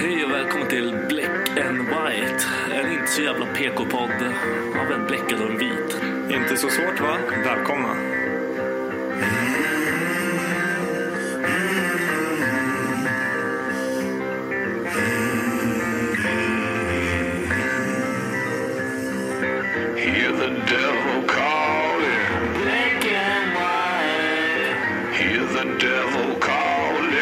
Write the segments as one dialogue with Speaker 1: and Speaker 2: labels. Speaker 1: Hej och välkommen till Black and White. En inte så jävla PK-podd av en bläckad och en vit.
Speaker 2: Inte så svårt va? Välkomna.
Speaker 3: Hear the devil calling. Black and white. Hear the devil calling.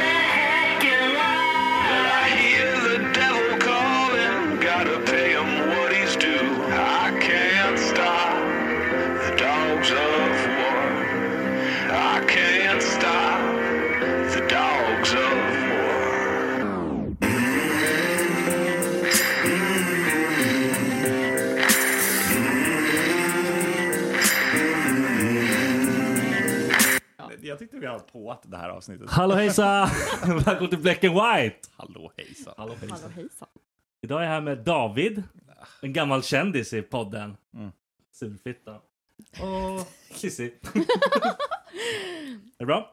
Speaker 3: Black and white. I hear the devil calling. Gotta pay him what he's due. I can't stop the dogs of war. I can't stop the dogs of war.
Speaker 2: Eh, Jag tyckte vi hade på att det här avsnittet.
Speaker 1: Hallå hejsa! Välkommen till Black and White.
Speaker 2: Hallå hejsan. Hallå
Speaker 1: Idag är jag här med David,
Speaker 2: Ah.
Speaker 1: en gammal kändis i podden.
Speaker 2: Mm.
Speaker 1: Surfitta. Och Kissy. är det bra?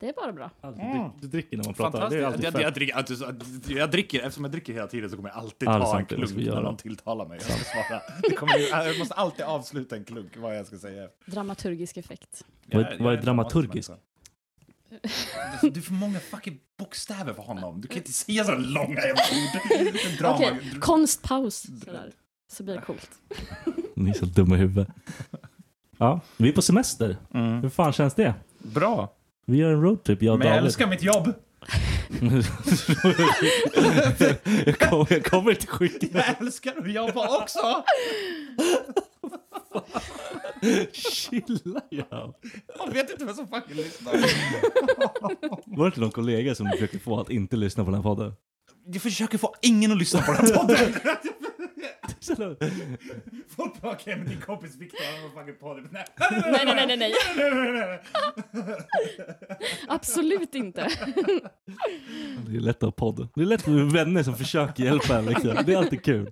Speaker 4: Det är bara bra.
Speaker 1: Alltid, du, du dricker när man pratar. Det är
Speaker 2: Mm. Fantastiskt.
Speaker 1: alltid
Speaker 2: Jag,
Speaker 1: fett.
Speaker 2: jag, jag, dricker, alltså, så- jag dricker, eftersom jag dricker hela tiden så kommer jag alltid
Speaker 1: Ja, det är
Speaker 2: ta en
Speaker 1: sant, det måste vi
Speaker 2: klunk när
Speaker 1: göra.
Speaker 2: någon tilltalar mig. Jag, ska
Speaker 1: Liksom.
Speaker 2: svara. Det kommer, ju- jag måste alltid avsluta en klunk vad jag ska säga.
Speaker 4: Dramaturgisk effekt.
Speaker 1: Vad är-
Speaker 2: Jag-
Speaker 1: vad är
Speaker 2: jag en
Speaker 1: dramaturgisk?
Speaker 2: sån människa. Du är för många fucking bokstäver för honom. Du kan inte säga så långa jävla ord. Drama.
Speaker 4: Okej, konstpaus sådär. Så blir det coolt.
Speaker 1: Ni är så dumma i huvudet. Ja, vi är på semester. Hur fan känns det?
Speaker 2: Mm. Bra.
Speaker 1: Vi gör en roadtrip, jag och
Speaker 2: Men jag
Speaker 1: David.
Speaker 2: älskar mitt jobb.
Speaker 1: jag, kommer, jag kommer inte skicka.
Speaker 2: Jag älskar att jobba också.
Speaker 1: Chilla ja.
Speaker 2: Jag vet inte vem som fucking lyssnar.
Speaker 1: Var det inte någon kollega som försökte få att inte lyssna på den här podden?
Speaker 2: Jag försöker få ingen att lyssna på den här podden. Folk bara, okej men din kompis Viktor har en fucking podd. Nej,
Speaker 4: Nej, nej, nej, nej, nej.
Speaker 2: nej, nej, nej.
Speaker 4: Absolut inte.
Speaker 1: Det är lätt att ha podd. Det är lätt med vänner som försöker hjälpa en liksom. Det är alltid kul.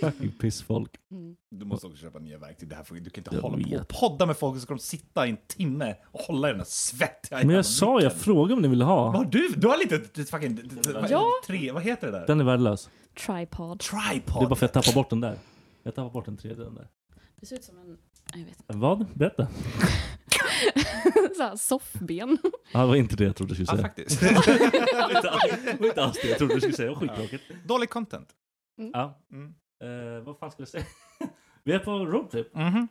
Speaker 1: Fucking pissfolk.
Speaker 4: Mm.
Speaker 2: Du måste också köpa nya verktyg. Det här får, du kan inte
Speaker 1: Jag
Speaker 2: hålla på
Speaker 1: vet.
Speaker 2: och podda med folk och så ska de sitta i en timme och hålla i den här svettiga
Speaker 1: Men
Speaker 2: jävla
Speaker 1: jag sa, jag
Speaker 2: micken.
Speaker 1: frågade om ni ville
Speaker 2: Vad
Speaker 1: ha.
Speaker 2: har du? Du har lite ett- ett fucking... ett- ett- vad-
Speaker 4: Ja.
Speaker 2: Tre, vad heter det där?
Speaker 1: Den är värdelös.
Speaker 4: Tripod.
Speaker 2: Tripod.
Speaker 1: Det är bara för att jag tappar bort den där. Jag tappar bort den tredje den där.
Speaker 4: Det ser ut som en... Jag vet
Speaker 1: Vad? Berätta.
Speaker 4: inte. Såhär soffben.
Speaker 1: Ja, det var inte det jag trodde du skulle
Speaker 2: Ja,
Speaker 1: säga.
Speaker 2: faktiskt.
Speaker 1: Det var inte alls- det var inte alls det jag trodde du skulle säga. Det var skittråkigt.
Speaker 2: Dålig content.
Speaker 1: Ja.
Speaker 2: Mm.
Speaker 1: Eh, vad fan ska jag säga? Vi är på roadtrip.
Speaker 2: Mhm.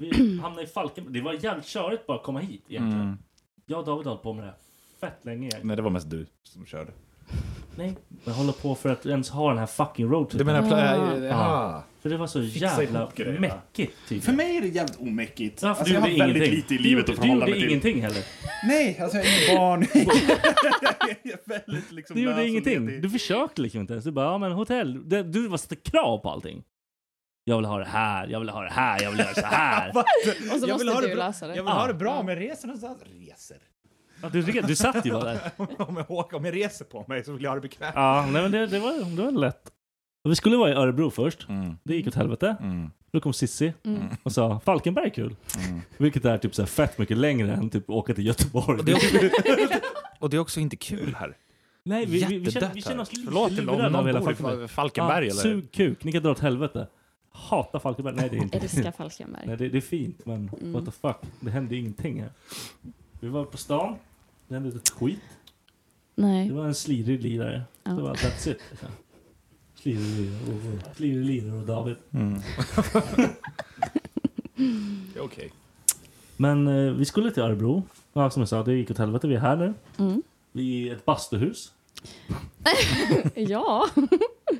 Speaker 1: Vi hamnade i Falkenberg. Det var jävligt körigt bara att komma hit egentligen. Jag och David har hållit på med det här fett länge egentligen.
Speaker 2: Mm. Nej, det var mest du som körde.
Speaker 1: Nej, jag håller på för att ens ha den här fucking roadtripen.
Speaker 2: Du menar...
Speaker 4: Ah.
Speaker 2: Pl- äh,
Speaker 1: Ja.
Speaker 5: För det var så
Speaker 6: Fixa
Speaker 5: jävla
Speaker 6: ihop grejerna.
Speaker 5: mäckigt. Typ.
Speaker 6: För mig är det jävligt omäckigt.
Speaker 5: Ja, för
Speaker 6: alltså,
Speaker 5: du
Speaker 6: jag har
Speaker 5: gjorde
Speaker 6: väldigt
Speaker 5: ingenting.
Speaker 6: lite i
Speaker 5: Du
Speaker 6: livet
Speaker 5: gjorde-
Speaker 6: att förhålla
Speaker 5: Du
Speaker 6: mig
Speaker 5: gjorde
Speaker 6: till.
Speaker 5: inget heller.
Speaker 6: Nej, alltså jag är inget barn. jag är väldigt liksom
Speaker 5: Du
Speaker 6: lös
Speaker 5: gjorde
Speaker 6: och
Speaker 5: ingenting.
Speaker 6: ledig.
Speaker 5: Du försökte liksom inte ens. Du bara, ja men hotell. Det- Du bara satte krav på allting. Jag vill ha det här, jag vill ha det här, jag vill göra så här.
Speaker 6: Vad?
Speaker 7: Och så
Speaker 6: Jag
Speaker 7: måste
Speaker 6: vill ha
Speaker 7: du
Speaker 6: det bra-
Speaker 7: lösa det.
Speaker 6: Jag vill ha det bra,
Speaker 7: Ja.
Speaker 6: men reser någonstans? Reser.
Speaker 5: Ja, Du, du satt ju bara där.
Speaker 6: om, jag åker, om jag reser på mig så vill jag ha det bekvämt.
Speaker 5: Ja, nej, men det, det, var, det var lätt. Och vi skulle vara i Örebro först.
Speaker 6: Mm.
Speaker 5: Det gick åt helvete.
Speaker 6: Mm.
Speaker 5: Då kom Sissi
Speaker 7: Mm.
Speaker 5: och sa Falkenberg är kul.
Speaker 6: Mm.
Speaker 5: Vilket är typ så här fett mycket längre än typ åka till Göteborg.
Speaker 1: Och det är också inte kul här.
Speaker 5: Nej, vi, vi, vi, känner, vi
Speaker 1: Jättedött
Speaker 5: känner
Speaker 1: här.
Speaker 5: oss lite
Speaker 1: Förlåt till någon,
Speaker 5: lurade av hela
Speaker 1: någon bor i
Speaker 5: Falkenberg.
Speaker 1: Fa- Falkenberg
Speaker 5: Ja,
Speaker 1: eller?
Speaker 5: Sug kuk, ni kan dra åt helvete. Hata Falkenberg. Nej, det är inte
Speaker 7: Älskar Falkenberg.
Speaker 5: Nej, det, det är fint, men
Speaker 7: Mm.
Speaker 5: what the fuck. Det hände ju ingenting här. Vi var på stan. Det hände inte ett skit. Det
Speaker 7: Nej.
Speaker 5: var en slirig lirare.
Speaker 7: Ja.
Speaker 5: Det var that's it. liksom. Slirig lirare och- och, slirig lirare och David.
Speaker 6: Det är okej.
Speaker 5: Men eh, vi skulle till Örebro. Ja, som jag sa, det gick åt helvete. Vi är här nu.
Speaker 7: Mm.
Speaker 5: Vi är i ett bastuhus.
Speaker 7: Ja.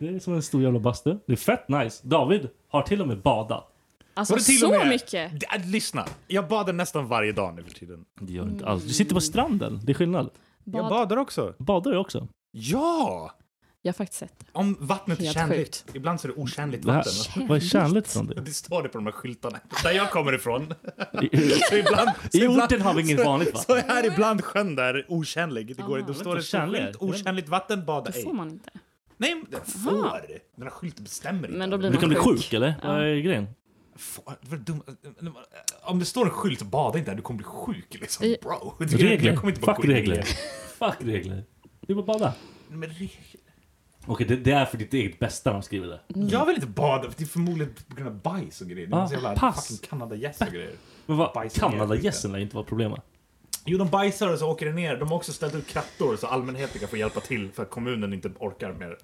Speaker 5: Det är som en stor jävla bastu. Det är fett nice. David har till och med badat.
Speaker 7: Alltså
Speaker 1: Var det till och
Speaker 7: så
Speaker 1: med-
Speaker 7: mycket.
Speaker 1: D- äh, Lyssna, jag badar nästan varje dag nu för tiden.
Speaker 5: Det gör du inte alls. Du sitter på stranden. Det är skillnad.
Speaker 1: Jag
Speaker 7: Mm. Bad.
Speaker 1: badar också.
Speaker 5: Badar du också?
Speaker 1: Ja!
Speaker 7: Jag har faktiskt sett det.
Speaker 1: Om vattnet är
Speaker 7: Helt
Speaker 1: tjänligt. Ibland så är det otjänligt
Speaker 5: Det här,
Speaker 1: vatten.
Speaker 5: vad är kärnligt från det?
Speaker 1: Det står det på de här skyltarna. Där jag kommer ifrån.
Speaker 5: I-
Speaker 1: Så ibland, så
Speaker 5: I
Speaker 1: ibland-
Speaker 5: orten har vi inget
Speaker 1: så-
Speaker 5: vanligt vatten.
Speaker 1: Så är ibland sjön där otjänlig.
Speaker 7: Ah.
Speaker 1: Det går, då står det på
Speaker 5: otjänlig.
Speaker 1: skylt, otjänligt vatten, bada
Speaker 7: Det
Speaker 1: ej.
Speaker 7: får man inte.
Speaker 1: Nej, men det får! Den här skylten bestämmer inte.
Speaker 7: Men då blir
Speaker 5: Du kan bli
Speaker 7: sjuk.
Speaker 5: sjuk eller? Vad är grejen?
Speaker 1: Får- vad dum- Om det står en skylt, bada inte där. Du kommer bli sjuk liksom.
Speaker 7: I-
Speaker 1: Bro.
Speaker 5: Regler.
Speaker 1: Jag kommer inte bara
Speaker 5: Fuck
Speaker 1: gå in i
Speaker 5: regler.
Speaker 1: det.
Speaker 5: Fuck regler. Du bara bada.
Speaker 1: Men regler.
Speaker 5: Okej, det, det är för ditt eget bästa de skriver det.
Speaker 1: Jag vill inte bada, för det är förmodligen på grund av bajs och grejer. Det är
Speaker 5: Ah,
Speaker 1: en massa jävla
Speaker 5: pass.
Speaker 1: fucking kanadagäss och grejer.
Speaker 5: Men vad,
Speaker 1: Bajsen är
Speaker 5: Kanadagässen lär inte vara problemet.
Speaker 1: Jo, de bajsar och så åker det ner. De har också ställt ut krattor så allmänheten kan få hjälpa till för att kommunen inte orkar mer.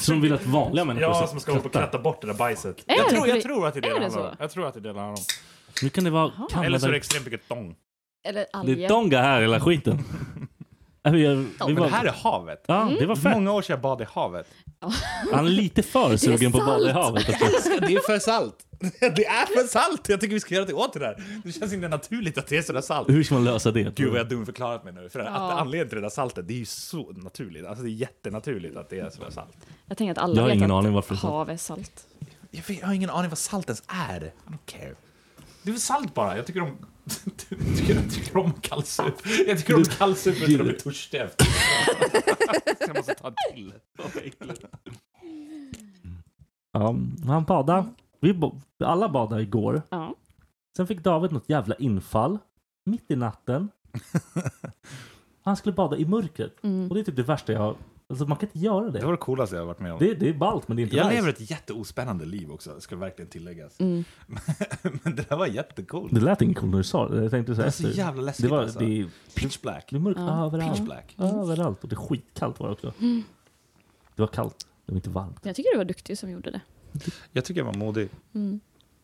Speaker 5: Som vill att vanliga människor
Speaker 1: Ja, som ska hålla på och kratta bort det där bajset. jag,
Speaker 7: det
Speaker 1: tror,
Speaker 7: på
Speaker 1: jag
Speaker 7: det-
Speaker 1: tror att det är det
Speaker 7: är
Speaker 1: det
Speaker 7: det
Speaker 1: handlar om.
Speaker 7: så?
Speaker 1: Jag tror att det är det det handlar om.
Speaker 5: Nu kan det vara
Speaker 1: Eller så är det
Speaker 5: Kanada...
Speaker 1: extremt mycket tång.
Speaker 7: Eller
Speaker 5: Det är
Speaker 7: alger.
Speaker 5: donga här hela skiten. Äh, Vi, är-
Speaker 1: Ja,
Speaker 5: vi
Speaker 1: men det här
Speaker 5: var,
Speaker 1: är havet.
Speaker 5: ja, det var fett.
Speaker 1: Många år sedan jag badade i havet.
Speaker 5: Han är lite för sugen på att bada i
Speaker 7: salt.
Speaker 5: havet. också.
Speaker 1: Det är för salt. Det är för salt! Jag tycker vi ska göra något åt det där. Det känns inte naturligt att det är sådär salt.
Speaker 5: Hur ska man lösa det? tror
Speaker 1: Gud vad
Speaker 5: du?
Speaker 1: jag dumförklarat mig nu. För att anledningen till det där saltet, det är ju så naturligt. Alltså det är jättenaturligt att det är sådär salt.
Speaker 7: Jag tänker att alla
Speaker 5: Jag har
Speaker 7: vet
Speaker 5: ingen
Speaker 7: att
Speaker 5: aning varför det är salt.
Speaker 7: hav är salt.
Speaker 1: Jag, vet, jag har ingen aning vad salt ens är. I don't care. Det är väl salt bara. Jag tycker om... Jag tycker, jag tycker om kallsup. Jag tycker om kallsup när de är törstiga efter. jag måste ta en till.
Speaker 5: Ja, han badade. Vi bo- alla badade igår.
Speaker 7: Ja.
Speaker 5: Sen fick David något jävla infall. Mitt i natten. Han skulle bada i mörkret. Och det är typ det värsta jag har... Alltså man kan inte göra det.
Speaker 1: Det var det coolaste jag har varit med om.
Speaker 5: Det, det är ballt men det är inte
Speaker 1: jag
Speaker 5: nice.
Speaker 1: lever ett jätteospännande liv också, ska verkligen tilläggas. Men det där var jättecoolt.
Speaker 5: Det lät inte coolt när du sa det. Jag tänkte så
Speaker 1: Det
Speaker 5: här
Speaker 1: är så
Speaker 5: efter.
Speaker 1: jävla läskigt
Speaker 5: det, var,
Speaker 1: alltså.
Speaker 5: det, är,
Speaker 1: Pitch black.
Speaker 5: det är mörkt överallt.
Speaker 1: Pitch black.
Speaker 5: Överallt. Och det är skitkallt var det också. Det var kallt. Det var inte varmt.
Speaker 7: Mm. Jag tycker du var duktig som gjorde det. Mm.
Speaker 1: Jag tycker jag var modig.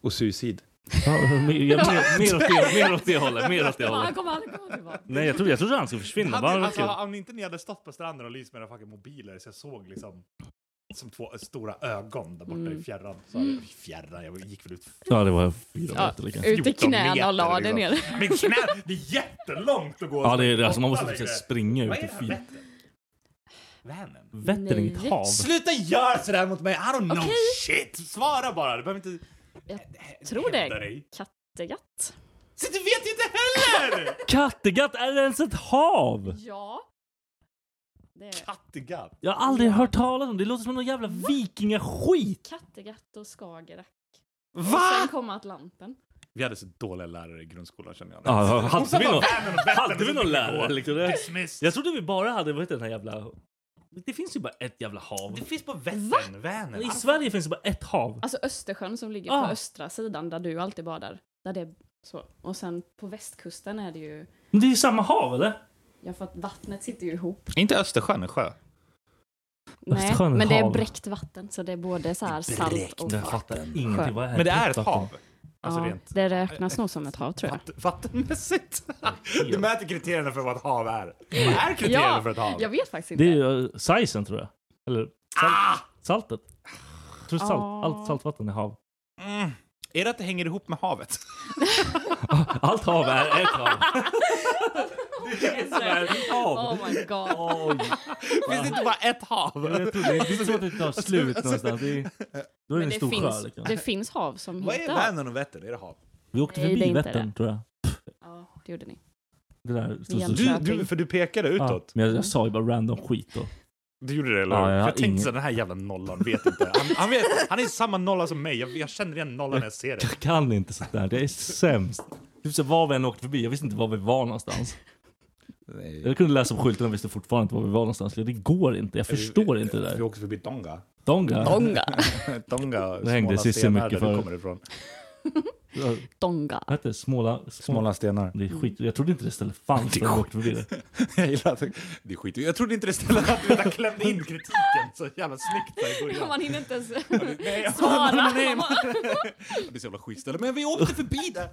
Speaker 1: Och suicid.
Speaker 5: Ja, mer, ja, mer, mer, åt det, mer åt det hållet. Mer åt det hållet.
Speaker 7: kommer aldrig komma tillbaka.
Speaker 5: Nej, jag trodde, jag trodde han skulle försvinna. Bara,
Speaker 1: Hade,
Speaker 5: alltså,
Speaker 1: alltså, om inte ni hade stått på stranden och lyst med era fucking mobiler så jag såg liksom som två stora ögon där borta i fjärran. Så hade, i fjärran, jag gick väl ut
Speaker 5: ja, det var fyra
Speaker 7: Ja,
Speaker 5: meter. liksom.
Speaker 7: ut i
Speaker 1: 14 meter,
Speaker 7: knäna och la dig
Speaker 1: liksom.
Speaker 7: ner.
Speaker 1: Men knä, det är jättelångt att gå.
Speaker 5: Ja, det är, alltså, man måste
Speaker 1: Åtta
Speaker 5: typ så här springa
Speaker 1: längre. Vad
Speaker 5: ut
Speaker 1: är
Speaker 5: i
Speaker 1: det här,
Speaker 5: fyra.
Speaker 1: Vättern? Vänern?
Speaker 5: Vätter är inget
Speaker 7: Nej.
Speaker 5: hav.
Speaker 1: Sluta göra sådär mot mig! I don't know
Speaker 7: Okej.
Speaker 1: shit! Svara bara, du behöver inte...
Speaker 7: Jag tror det
Speaker 1: Hämta
Speaker 7: är
Speaker 1: dig.
Speaker 7: Kattegatt.
Speaker 1: Så du vet ju inte heller!
Speaker 5: Kattegatt, är det ens ett hav?
Speaker 7: Ja. Det är
Speaker 1: Kattegatt.
Speaker 5: Jag har aldrig hört talas om det. Det låter som någon jävla vikingaskit.
Speaker 7: Kattegatt och Skagerrak. Och
Speaker 1: Va?
Speaker 7: sen kommer Atlanten.
Speaker 1: Vi hade så dåliga lärare i grundskolan känner jag.
Speaker 5: Ja, ja,
Speaker 1: Hon
Speaker 5: hade
Speaker 1: sa
Speaker 5: vi
Speaker 1: bara,
Speaker 5: någon-
Speaker 1: "Vänern och Vättern",
Speaker 5: hade vi
Speaker 1: och så
Speaker 5: någon
Speaker 1: fick
Speaker 5: lärare,
Speaker 1: gå.
Speaker 5: liksom? Det-
Speaker 1: Dismiss.
Speaker 5: Jag trodde vi bara hade, vad heter den här jävla... Det finns ju bara ett jävla hav.
Speaker 1: Det finns på Vättern, Vänern.
Speaker 5: I Sverige finns det bara ett hav.
Speaker 7: Alltså Östersjön som ligger
Speaker 5: Ah.
Speaker 7: på östra sidan där du alltid badar. Där det är så. Och sen på västkusten är det ju...
Speaker 5: Men det är ju samma hav eller?
Speaker 7: Ja, för att vattnet sitter ju ihop.
Speaker 1: Inte Östersjön, en sjö.
Speaker 7: Nej,
Speaker 5: Östersjön är
Speaker 7: men det är
Speaker 5: hav.
Speaker 7: bräckt vatten så det är både så här salt och...
Speaker 5: Ingenting. Vad är
Speaker 1: Men det är ett
Speaker 5: Vatten.
Speaker 1: hav. Alltså
Speaker 7: ja,
Speaker 1: rent
Speaker 7: det räknas nog som ett hav tror jag.
Speaker 1: vatt- vattenmässigt. Du mäter kriterierna för vad ett hav är. Vad är kriterierna för ett hav?
Speaker 7: Mm. jag vet faktiskt inte.
Speaker 5: Det är ju
Speaker 1: Ah!
Speaker 5: uh, sizen tror jag. Eller sal- saltet. Jag tror salt,
Speaker 7: Ah.
Speaker 5: allt saltvatten är hav. Mm. Är det att det hänger ihop med havet?
Speaker 8: Allt hav är ett hav.
Speaker 7: Oh my god.
Speaker 5: Finns det inte bara ett hav?
Speaker 8: Jag tror det, det är inte så att det tar slut
Speaker 5: Alltså-
Speaker 8: någonstans. Det är, då är det
Speaker 7: Men
Speaker 8: en
Speaker 7: det
Speaker 8: stor sjö.
Speaker 7: finns,
Speaker 8: Liksom.
Speaker 7: det finns hav som
Speaker 5: Vad är
Speaker 7: heter hav.
Speaker 5: Vänern och Vättern? Är det hav?
Speaker 8: Vi åkte
Speaker 7: Nej, det är
Speaker 8: förbi
Speaker 7: inte
Speaker 8: Vättern,
Speaker 7: det.
Speaker 8: tror jag.
Speaker 7: Ja, det gjorde ni.
Speaker 8: Det där stod så-
Speaker 5: Du, du, för du pekade
Speaker 8: ja,
Speaker 5: utåt.
Speaker 8: men jag, jag sa ju bara random skit då.
Speaker 5: Du gjorde det, eller
Speaker 8: Ja,
Speaker 5: hur?
Speaker 8: jag
Speaker 5: jag
Speaker 8: har
Speaker 5: tänkte
Speaker 8: ingen-
Speaker 5: så här, den här jävla nollan vet inte. Han, han, vet, han är samma nolla som mig. Jag, jag känner igen nollan när jag ser det.
Speaker 8: Jag kan inte sånt där. Det är sämst. Typ så var vi än åkte förbi, jag visste inte var vi var någonstans. Jag kunde läsa på skylten och visste fortfarande inte var vi var någonstans. Det går inte, jag förstår inte det
Speaker 5: Vi
Speaker 8: där.
Speaker 5: åkte förbi Donga.
Speaker 8: Donga.
Speaker 7: Donga.
Speaker 5: Donga,
Speaker 8: Det hängde
Speaker 5: Smålandsstenar,
Speaker 8: Cissi mycket
Speaker 5: där du
Speaker 8: förut.
Speaker 5: kommer ifrån.
Speaker 7: Donga.
Speaker 8: Vad hette det? Småla... Småla...
Speaker 5: Smålandsstenar.
Speaker 8: Det är skit. Jag trodde inte det stället fanns förrän vi åkte förbi det.
Speaker 5: Jag gillar att det är skit. Jag trodde inte det ställde att du vet, jag klämde in kritiken så jävla snyggt där i början.
Speaker 7: Man hinner inte ens
Speaker 5: Nej,
Speaker 7: svara.
Speaker 5: men nej, man- Det är så jävla skitställe. Men vi åkte förbi det!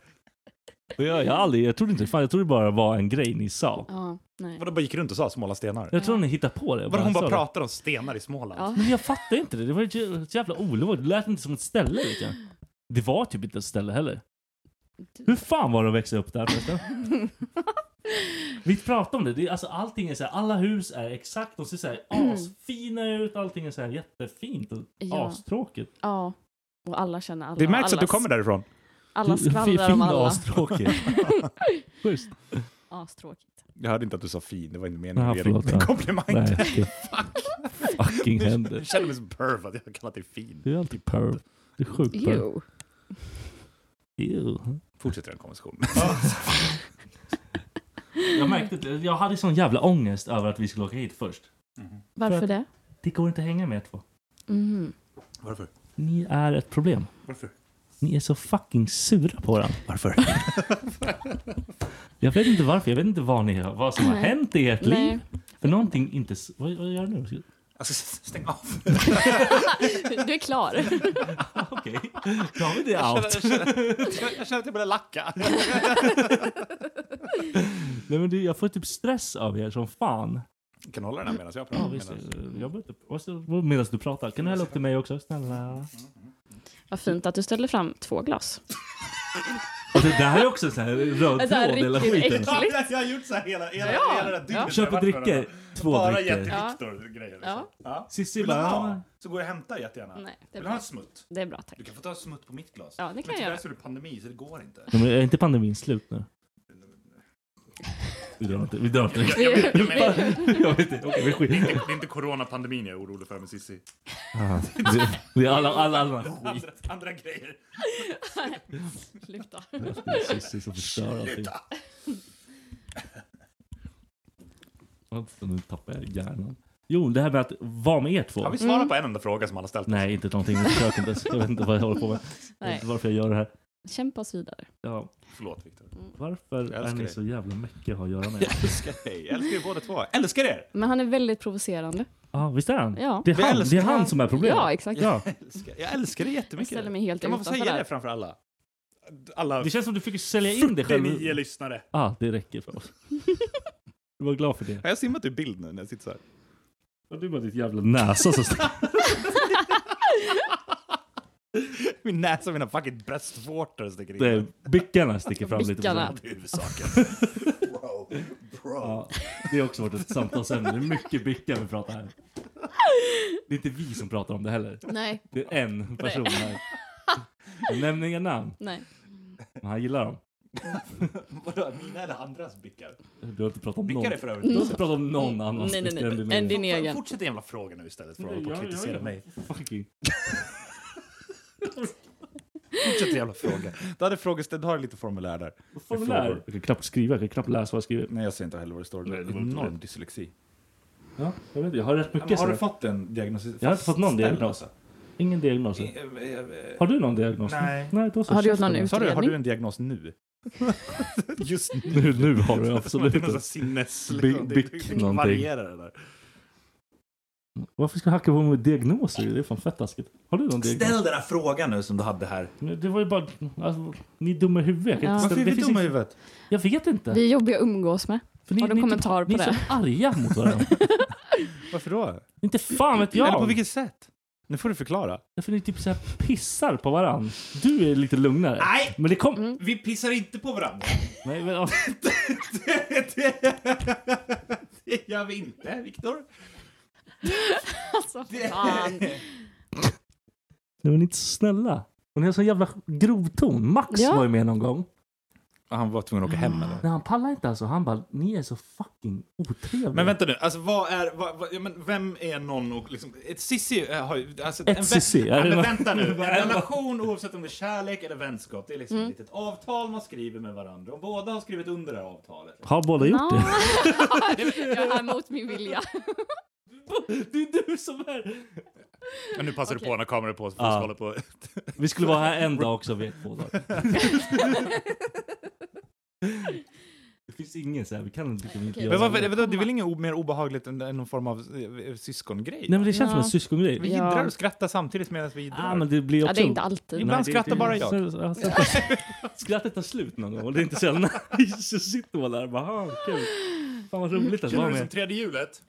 Speaker 8: Och jag, jag, har aldrig, jag trodde inte fan, jag trodde det bara var en grej ni sa.
Speaker 7: Ja, nej.
Speaker 5: Vadå, bara gick runt och sa Smålandsstenar?
Speaker 8: Jag tror ni hittade på det.
Speaker 5: Vadå, hon
Speaker 8: sa
Speaker 5: bara
Speaker 8: det.
Speaker 5: pratar om stenar i Småland?
Speaker 7: Ja.
Speaker 8: Men jag fattar inte det. Det var ju så jävla olagligt. Det lät inte som ett ställe. Liksom. Det var typ inte ett ställe heller. Hur fan var det att växa upp där förresten? Vi pratade om det. det är, alltså, allting är så här, alla hus är exakt. De ser så här asfina ut. Allting är så här jättefint och
Speaker 7: Mm. Ja.
Speaker 8: astråkigt.
Speaker 7: Ja. Och alla känner alla.
Speaker 5: Det märks
Speaker 7: alla,
Speaker 5: att du kommer därifrån.
Speaker 7: Alla skvallrar
Speaker 8: Fin
Speaker 7: om
Speaker 8: och
Speaker 7: alla.
Speaker 8: astråkig. Schysst.
Speaker 7: Astråkigt.
Speaker 5: Jag hörde inte att du sa fin, det var inte meningen.
Speaker 8: Ja,
Speaker 5: att ge dig
Speaker 8: förlåt.
Speaker 5: en komplimang.
Speaker 8: Nej, det fucking händer.
Speaker 5: Jag känner mig som perv att jag har kallat dig fin.
Speaker 8: Du är alltid perv. Du är sjukt perv.
Speaker 7: Jo.
Speaker 8: Ew.
Speaker 5: Fortsätter den konversationen.
Speaker 8: Jag märkte att jag hade sån jävla ångest över att vi skulle åka hit först. För
Speaker 5: Mhm.
Speaker 7: Varför
Speaker 8: att-
Speaker 7: det?
Speaker 8: Det går inte att hänga med er två.
Speaker 7: Mhm.
Speaker 5: Varför?
Speaker 8: Ni är ett problem.
Speaker 5: Varför?
Speaker 8: Ni är så fucking sura på den.
Speaker 5: Varför?
Speaker 8: Jag vet inte varför. Jag vet inte vad, ni, har- vad som har
Speaker 7: Nej.
Speaker 8: hänt i ert
Speaker 7: Nej.
Speaker 8: liv. För någonting inte... s- Vad, vad gör du nu?
Speaker 5: Alltså, stäng av.
Speaker 7: Du är klar.
Speaker 8: Okej. David är
Speaker 5: Jag
Speaker 8: out.
Speaker 5: känner, jag, känner, jag känner att jag börjar lacka.
Speaker 8: Nej, men det, jag får typ stress av er som fan.
Speaker 5: kan du hålla den här medan jag
Speaker 8: Mm. Ja,
Speaker 5: pratar?
Speaker 8: visst.
Speaker 5: Medan-
Speaker 8: Jag började, och så- medan du pratar. Kan du hälla upp till mig också? Snälla.
Speaker 7: Vad fint att du ställde fram två glas.
Speaker 8: Och det där är också så här röd
Speaker 7: Alltså,
Speaker 8: tråd i hela
Speaker 7: riktigt
Speaker 8: skiten.
Speaker 7: äckligt.
Speaker 5: Ja, precis, jag har gjort så här hela, hela,
Speaker 7: Ja.
Speaker 5: hela det där dygnet.
Speaker 8: Köp och
Speaker 5: Jag har varit med
Speaker 8: dricka.
Speaker 5: varandra.
Speaker 8: Två
Speaker 5: Bara
Speaker 8: dricker.
Speaker 5: jätteviktor-grejer. liksom. Ja.
Speaker 8: Cissi
Speaker 5: Vill du
Speaker 8: bara...
Speaker 5: ha? Så går jag och hämtar jättegärna.
Speaker 7: Nej, det är
Speaker 5: Vill du ha
Speaker 7: bra.
Speaker 5: en smutt?
Speaker 7: Det är bra, tack.
Speaker 5: Du kan få ta smutt på mitt glas.
Speaker 7: Ja, det kan
Speaker 5: Men
Speaker 7: jag
Speaker 5: tyvärr
Speaker 7: göra.
Speaker 5: så är det pandemi så det går inte.
Speaker 8: Nej, men är inte pandemin slut nu? Vi drar inte. Vi drar inte.
Speaker 5: Jag vet, jag vet,
Speaker 8: Jag vet inte. Okej, vi
Speaker 5: det, är
Speaker 8: skiter
Speaker 5: inte, det är inte coronapandemin jag är orolig för med Cissi.
Speaker 8: det. Det är alla, alla, alla skit.
Speaker 5: Andra, andra grejer.
Speaker 7: Sluta.
Speaker 8: Cissi som förstör allting. Alltså, nu tappar jag hjärnan. Jo, det här med att vara med er två.
Speaker 5: Har vi
Speaker 7: Mm.
Speaker 5: svarat på en enda fråga som alla ställt?
Speaker 8: Nej, inte någonting. Jag försöker inte ens. Jag vet inte vad jag håller på med. Jag vet
Speaker 7: Nej,
Speaker 8: inte varför jag gör det här.
Speaker 7: kämpa oss vidare. Mm.
Speaker 8: Ja,
Speaker 5: Förlåt Viktor.
Speaker 8: varför
Speaker 5: Jag
Speaker 8: är
Speaker 5: älskar
Speaker 8: ni
Speaker 5: dig.
Speaker 8: så jävla mäckiga att ha att göra med?
Speaker 5: Jag älskar dig. Jag älskar er båda två. Jag älskar er!
Speaker 7: Men han är väldigt provocerande.
Speaker 8: Ja, visst är han?
Speaker 7: Ja.
Speaker 8: Det är han, det
Speaker 5: älskar
Speaker 8: är han
Speaker 5: han.
Speaker 8: som är problemet.
Speaker 7: Ja, exakt.
Speaker 8: Ja.
Speaker 5: Jag älskar, jag älskar er jättemycket.
Speaker 7: Jag ställer mig helt
Speaker 5: kan man få
Speaker 7: utanför
Speaker 5: säga
Speaker 7: där.
Speaker 5: det framför alla? Alla
Speaker 8: Det känns som du fick sälja in dig själv.
Speaker 5: 49 lyssnare.
Speaker 8: Ja, ah, det räcker för oss. Du var glad för det.
Speaker 5: Har jag simmat ur bild nu när jag sitter så här?
Speaker 8: Och du bara ditt jävla näsa som står...
Speaker 5: Min näsa och mina fucking bröstvårtor sticker in.
Speaker 8: Det är- Bickarna sticker fram lite. på
Speaker 7: Bickarna.
Speaker 8: sidan.
Speaker 5: Huvudsaken. Bro, bro.
Speaker 8: Ja, det har också varit ett samtalsämne. Det är mycket bickar vi pratar här. Det är inte vi som pratar om det heller.
Speaker 7: Nej,
Speaker 8: Det är en person här. Jag nämner inga namn,
Speaker 7: nej.
Speaker 8: men han gillar dem.
Speaker 5: Vadå, mina eller andras bickar?
Speaker 8: Du har inte pratat om någon.
Speaker 5: Bickar är för övrigt
Speaker 8: Du har inte pratat om någon annans
Speaker 7: Nej, nej,
Speaker 8: bickar än din
Speaker 7: nej. Än din
Speaker 5: Fan,
Speaker 7: egen.
Speaker 5: Fortsätt en jävla fråga nu istället för att hålla på och
Speaker 8: Jag- jag-
Speaker 5: kritisera
Speaker 8: jag-
Speaker 5: mig.
Speaker 8: Fucking.
Speaker 5: Fortsätt en jävla fråga. Du hade frågeställ, du har lite formulär där.
Speaker 8: Formulär. Jag kan knappt skriva, jag kan knappt läsa vad jag skriver.
Speaker 5: Nej, jag ser inte heller vad det står.
Speaker 8: Nej, det var inte
Speaker 5: Enorm
Speaker 8: rätt.
Speaker 5: dyslexi.
Speaker 8: Ja, jag vet inte, jag har rätt mycket. sådär.
Speaker 5: fått en diagnos? Eh,
Speaker 8: Jag har inte fått någon diagnos. Ingen diagnos. Har du någon diagnos?
Speaker 5: Nej.
Speaker 8: Nej då så.
Speaker 7: Har du gjort någon
Speaker 8: nu?
Speaker 5: Sa du, har du
Speaker 7: utredning?
Speaker 5: en diagnos nu? Just nu.
Speaker 8: Nu, nu har du
Speaker 5: Som att
Speaker 8: absolut
Speaker 5: det är någon sån
Speaker 8: inte.
Speaker 5: sinnes...
Speaker 8: Bi-
Speaker 5: Liksom. Det-
Speaker 8: bick
Speaker 5: det
Speaker 8: någonting.
Speaker 5: varierar det där.
Speaker 8: Varför ska jag hacka på mig med diagnoser? Det är fan fett taskigt. Har du någon diagnos?
Speaker 5: Ställ den här frågan nu som du hade här.
Speaker 8: Nej, Det var ju bara... Alltså, ni är dumma i huvudet. Jag, kan
Speaker 7: Ja.
Speaker 8: inte
Speaker 7: Varför
Speaker 8: ställa- det finns inte-
Speaker 5: huvudet?
Speaker 8: jag vet inte.
Speaker 7: Vi är jobbiga att umgås med.
Speaker 8: För ni,
Speaker 7: Har du
Speaker 8: ni är
Speaker 7: kommentar
Speaker 8: typ,
Speaker 7: på
Speaker 8: Ni är
Speaker 7: det?
Speaker 8: så arga mot varandra.
Speaker 5: Varför då?
Speaker 8: inte fan vet jag.
Speaker 5: Eller på vilket sätt?
Speaker 8: Nu får du förklara. Därför ni typ så här pissar på varann. Du är lite lugnare. Nej! Men det kom...
Speaker 1: Vi pissar inte på varandra.
Speaker 8: Nej, men... ja.
Speaker 1: Det gör vi inte, Viktor.
Speaker 7: Alltså, fan.
Speaker 8: Nu är ni inte så snälla. Och ni har så jävla grov ton. Max
Speaker 7: Ja.
Speaker 8: var ju med någon gång.
Speaker 1: Han var tvungen att åka hem eller?
Speaker 8: Nej, han pallar inte alltså. Han bara, ni är så fucking otrevliga.
Speaker 1: Men vänta nu, alltså vad är, vad, vad, ja, men vem är någon och liksom, ett sissi eh, har ju, alltså,
Speaker 8: Ett
Speaker 1: vä-
Speaker 8: sissi, är
Speaker 1: ja,
Speaker 8: det
Speaker 1: men
Speaker 8: någon-
Speaker 1: vänta nu, en
Speaker 8: Vad är det?
Speaker 1: relation oavsett om det är kärlek eller vänskap, det är liksom
Speaker 7: Mm.
Speaker 1: ett litet avtal man skriver med varandra och båda har skrivit under det här avtalet.
Speaker 8: Har båda gjort
Speaker 7: Ja.
Speaker 8: det?
Speaker 7: Jag är mot min vilja.
Speaker 8: Det är du som är...
Speaker 1: Men nu passar du på när kameran är på så
Speaker 8: får vi Ja. skala
Speaker 1: på.
Speaker 8: Vi skulle vara här en dag också, vi är två dagar. Det finns ingen så här, vi kan inte... inte göra
Speaker 1: Men vad,
Speaker 8: det.
Speaker 1: vadå, det är väl inget o- mer obehagligt än än någon form av eh, syskongrej?
Speaker 8: Nej men det känns som
Speaker 7: Ja.
Speaker 8: en syskongrej.
Speaker 1: Vi
Speaker 7: Ja.
Speaker 1: jiddrar och skrattar samtidigt medan vi jiddrar.
Speaker 8: Ja, men det blir
Speaker 7: Ja,
Speaker 8: också...
Speaker 7: det är inte alltid.
Speaker 1: Ibland skrattar bara jag.
Speaker 8: Skrattet tar slut någon gång och det är inte så jävla nice. Så sitter man där och bara, "Ah, kul. Fan vad roligt att vara med.
Speaker 1: tredje hjulet?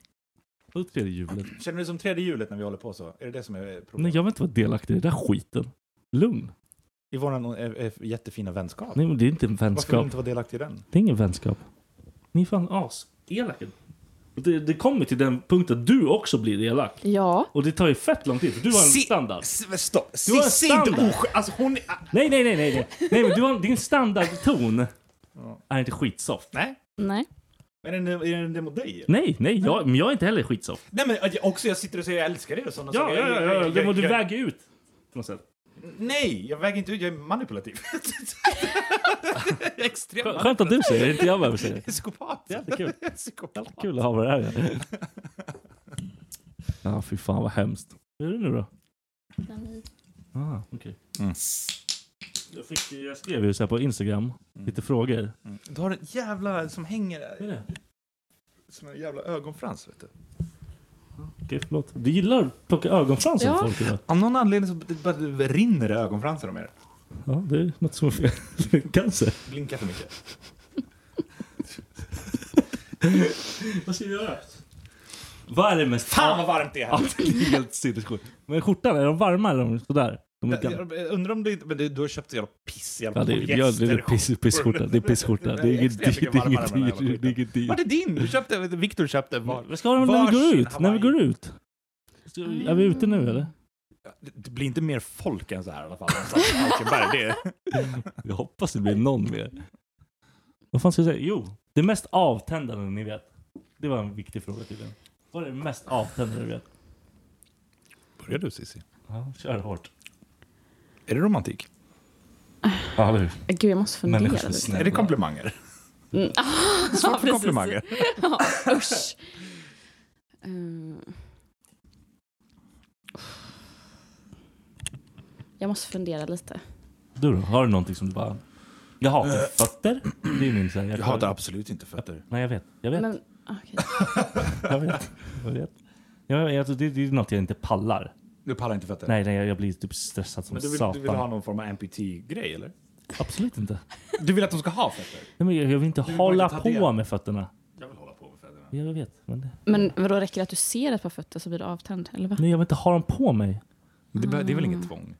Speaker 8: På tredje hjulet.
Speaker 1: Känner du som tredje hjulet när vi håller på så? Är det det som är problemet?
Speaker 8: Nej, jag vill inte vara delaktig i den där skiten. Lugn.
Speaker 1: I vår eh, eh, jättefina vänskap.
Speaker 8: Nej, men det är inte en
Speaker 1: Varför vill du
Speaker 8: vänskap.
Speaker 1: inte vara delaktig i den?
Speaker 8: Det är ingen vänskap. Ni är fan as-elaka. Och Det, det kommer till den punkt att du också blir elak.
Speaker 7: Ja.
Speaker 8: Och det tar ju fett lång tid, för du har en
Speaker 1: Si-
Speaker 8: standard.
Speaker 1: S- Stopp!
Speaker 8: Du har en
Speaker 1: Cissi är inte
Speaker 8: standard.
Speaker 1: oskön! Alltså hon är...
Speaker 8: Nej, nej, nej, nej. nej. nej men du har, din standardton är inte skitsoft.
Speaker 1: Nej.
Speaker 7: Nej.
Speaker 1: Är den, är den det mot dig?
Speaker 8: Nej, nej, jag, men jag är inte heller skitsoft.
Speaker 1: Nej men jag- också, jag sitter och säger jag älskar dig och sådana
Speaker 8: Ja,
Speaker 1: saker.
Speaker 8: ja,
Speaker 1: Jag-
Speaker 8: ja,
Speaker 1: jag-
Speaker 8: ja.
Speaker 1: jag-
Speaker 8: Det må du
Speaker 1: jag-
Speaker 8: väga ut. På något sätt.
Speaker 1: Nej, jag väger inte ut, jag är manipulativ. jag är extremt
Speaker 8: Skö- Skönt att du säger det, inte jag behöver säga det.
Speaker 1: Psykopat.
Speaker 8: Det är alltid kul.
Speaker 1: Psykopat.
Speaker 8: Kul att ha vad det här. Ja, ah, fy fan vad hemskt. Hur är det nu då? Ah, okej.
Speaker 1: Mm.
Speaker 8: Jag, fick, jag skrev ju så här på Instagram, lite frågor.
Speaker 1: Du har en jävla som hänger där.
Speaker 8: Är det?
Speaker 1: Som en jävla ögonfrans vet du.
Speaker 8: Okej, förlåt. Du gillar att plocka ögonfransar
Speaker 7: Ja.
Speaker 8: på folk idag.
Speaker 1: Av någon anledning så bara rinner det ögonfransar om er.
Speaker 8: Ja, det är något som är fel. Cancer.
Speaker 1: Blinka för mycket.
Speaker 8: Vad ska vi göra? Vad är det mest...
Speaker 1: Fan vad varmt det är
Speaker 8: Ja,
Speaker 1: här!
Speaker 8: det är helt sinnessjukt. Men skjortan, är de varma eller är de sådär? De är
Speaker 1: Jag,
Speaker 8: gamla.
Speaker 1: jag undrar om det inte... Men det, du har köpt en jävla piss, jävla
Speaker 8: Ja, det är, ja, det är piss, pissskjorta. Det är pissskjorta. Det är ingen dyr. Det är ingen dyr. Det är ingen dyr.
Speaker 1: Vart är din? Du köpte... Viktor köpte var...
Speaker 8: Vad ska de när vi går
Speaker 1: varsin
Speaker 8: ut? När vi går ut? Ska vi- Är vi ute nu eller?
Speaker 1: Mm. Det, det blir inte mer folk än så här i alla fall. Alltså, Falkenberg, det är...
Speaker 8: Jag hoppas det blir någon mer. Vad fan ska jag säga? Jo, det mest avtändande ni vet. Det var en viktig fråga tydligen. Vad är det mest avtändande du vet?
Speaker 1: Börjar du Cissi?
Speaker 8: Ja, kör hårt.
Speaker 1: Är det romantik?
Speaker 8: Ja, eller hur?
Speaker 7: Gud, jag måste fundera.
Speaker 8: Människor är
Speaker 7: lite.
Speaker 8: snälla.
Speaker 1: Är det komplimanger? Svårt för
Speaker 7: precis.
Speaker 1: komplimanger.
Speaker 7: Ja, usch. Eh. Jag måste fundera lite.
Speaker 8: Du då? Har du någonting som du bara... Jag hatar fötter. Det är min så här,
Speaker 1: Jag hatar absolut inte fötter.
Speaker 8: Nej, jag vet. Jag vet.
Speaker 7: Men, okej.
Speaker 8: Jag vet. Jag vet. Jag, jag, det, det är något jag inte pallar.
Speaker 1: Du pallar inte fötter?
Speaker 8: Nej, nej jag, jag blir typ stressad som
Speaker 1: Men du vill,
Speaker 8: satan.
Speaker 1: du vill ha någon form av amputee-grej eller?
Speaker 8: Absolut inte.
Speaker 1: Du vill att de ska ha fötter?
Speaker 8: Nej, men jag, jag vill inte
Speaker 1: vill bara
Speaker 8: hålla
Speaker 1: inte ta
Speaker 8: på
Speaker 1: del.
Speaker 8: med fötterna.
Speaker 1: Jag vill hålla på med fötterna.
Speaker 8: Ja, Jag vet. Men det...
Speaker 7: men vadå, räcker det att du ser ett par fötter så blir du avtänd? Eller vad?
Speaker 8: Nej, jag vill inte ha dem på mig.
Speaker 1: Det, be- det är väl inget
Speaker 7: Mm.
Speaker 1: tvång?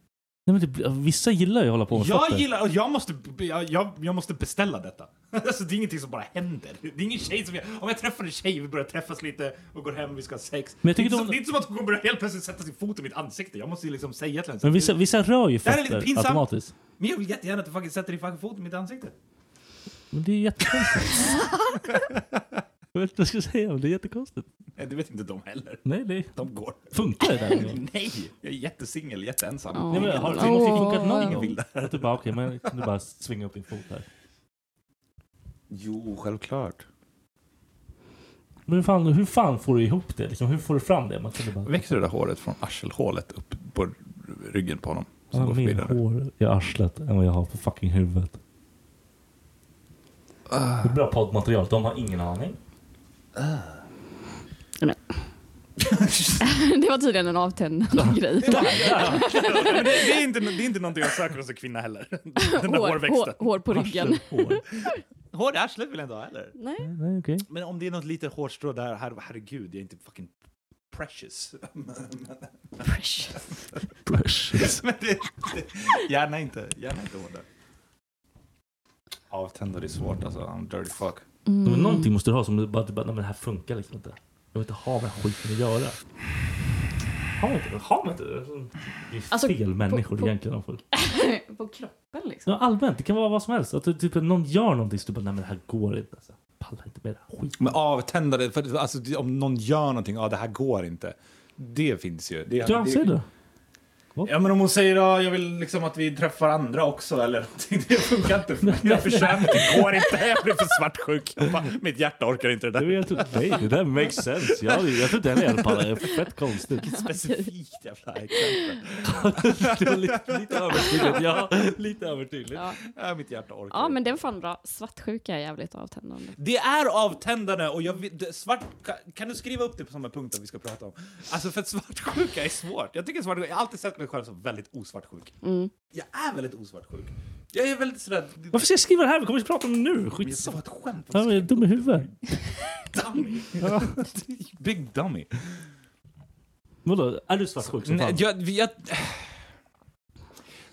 Speaker 8: Nej, men det, blir- vissa gillar ju att hålla på med
Speaker 1: Jag
Speaker 8: fötter.
Speaker 1: gillar, och jag måste, jag, jag, jag måste beställa detta. Alltså det är ingenting som bara händer. Det är ingen tjej som jag, om jag träffar en tjej, vi börjar träffas lite och går hem, vi ska ha sex.
Speaker 8: Men jag tycker
Speaker 1: det, är
Speaker 8: de-
Speaker 1: inte som, det är inte som att hon kommer helt plötsligt sätta sin fot i mitt ansikte. Jag måste ju liksom säga till henne. så
Speaker 8: Men
Speaker 1: att-
Speaker 8: vissa, vissa rör ju
Speaker 1: Det här är lite
Speaker 8: fötter
Speaker 1: pinsamt.
Speaker 8: automatiskt.
Speaker 1: Men jag vill jättegärna att du fucking sätter din fucking fot i mitt ansikte.
Speaker 8: Men det är jättekonstigt. jag vet inte vad jag ska säga, men det är jättekonstigt.
Speaker 1: Nej, det vet inte de heller.
Speaker 8: Nej, det
Speaker 1: De går.
Speaker 8: funkar det där. Nej,
Speaker 1: Nej! Jag är jättesingel, jätteensam.
Speaker 8: men,
Speaker 7: Åh.
Speaker 8: har det någonting
Speaker 7: Åh.
Speaker 8: funkat någon
Speaker 1: Ingen
Speaker 8: gång?
Speaker 1: vill
Speaker 8: Att du bara, okej, men kan du bara svinga upp din fot här?
Speaker 1: Jo, självklart.
Speaker 8: Men hur fan, hur fan får du ihop det? Liksom, hur får du fram det? Man kunde bara...
Speaker 1: Växer det där håret från arselhålet upp på ryggen på honom?
Speaker 8: Jag har mer hår i arslet än vad jag har på fucking huvudet. Det är bra poddmaterial, de har ingen aning.
Speaker 7: Ah. Det var tydligen en avtändande grej.
Speaker 1: Men det, det, är inte, det är inte någonting jag söker hos en kvinna heller. Den där
Speaker 7: Hår,
Speaker 1: hårväxten.
Speaker 7: hår, hår på ryggen.
Speaker 8: Hår.
Speaker 1: Hår i arslet vill jag inte ha heller.
Speaker 7: Nej.
Speaker 8: Nej, okej.
Speaker 1: Men om det är något litet hårstrå där, her, herregud, jag är inte fucking
Speaker 5: precious.
Speaker 7: Precious.
Speaker 5: precious. Men det, det, gärna inte, gärna inte hårdare. Avtändare är svårt alltså, I'm dirty fuck.
Speaker 8: Mm. Men någonting måste du ha som du bara, du bara nej, men det här funkar liksom inte. Jag vill inte ha med den här skiten att göra. Har man inte det? Har man inte det? Det är
Speaker 7: Alltså,
Speaker 8: fel
Speaker 7: på-
Speaker 8: människor
Speaker 7: på-
Speaker 8: egentligen. de folk.
Speaker 7: på kroppen liksom.
Speaker 8: Ja, allmänt, det kan vara vad som helst. Att du, typ, någon gör någonting så du bara nej men det här går inte. Alltså. Pallar inte med det här skiten.
Speaker 5: Men avtändare, för, alltså, det- om någon gör någonting, ja det här går inte. Det finns ju. Det,
Speaker 8: Ja, säg det.
Speaker 5: Ja men om hon säger ja, jag vill liksom att vi träffar andra också eller någonting. Det funkar inte för mig. Jag försöker, det går inte. Jag blir för svartsjuk. Fan, Mitt hjärta orkar inte det där.
Speaker 8: Jag tror, nej, det där makes sense. Jag, hade- jag tror den är pallar. Fett konstigt.
Speaker 5: Specifikt jävla exempel.
Speaker 8: Det var lite, lite övertydligt. Ja, lite övertydligt.
Speaker 7: Ja.
Speaker 5: Ja, mitt hjärta orkar
Speaker 7: Ja, men den fan bra. Svartsjuka är jävligt avtändande.
Speaker 5: Det är avtändande och jag vet- det- svart... Kan, kan du skriva upp det på samma punkter vi ska prata om? Alltså för att svartsjuka är svårt. Jag tycker svartsjuka... Jag har alltid sett mig själv som väldigt osvartsjuk.
Speaker 7: Mm.
Speaker 5: Jag är väldigt osvartsjuk. Jag är väldigt sådär...
Speaker 8: Varför ska jag skriva det här? Vi kommer ju prata om det nu. Skitsamma.
Speaker 5: Det var ett skämt.
Speaker 8: Ja, men jag är dum i huvudet.
Speaker 5: Dummy. Big dummy.
Speaker 8: Vadå, är du svartsjuk som
Speaker 5: Nej,
Speaker 8: fan?
Speaker 5: jag, vi- jag,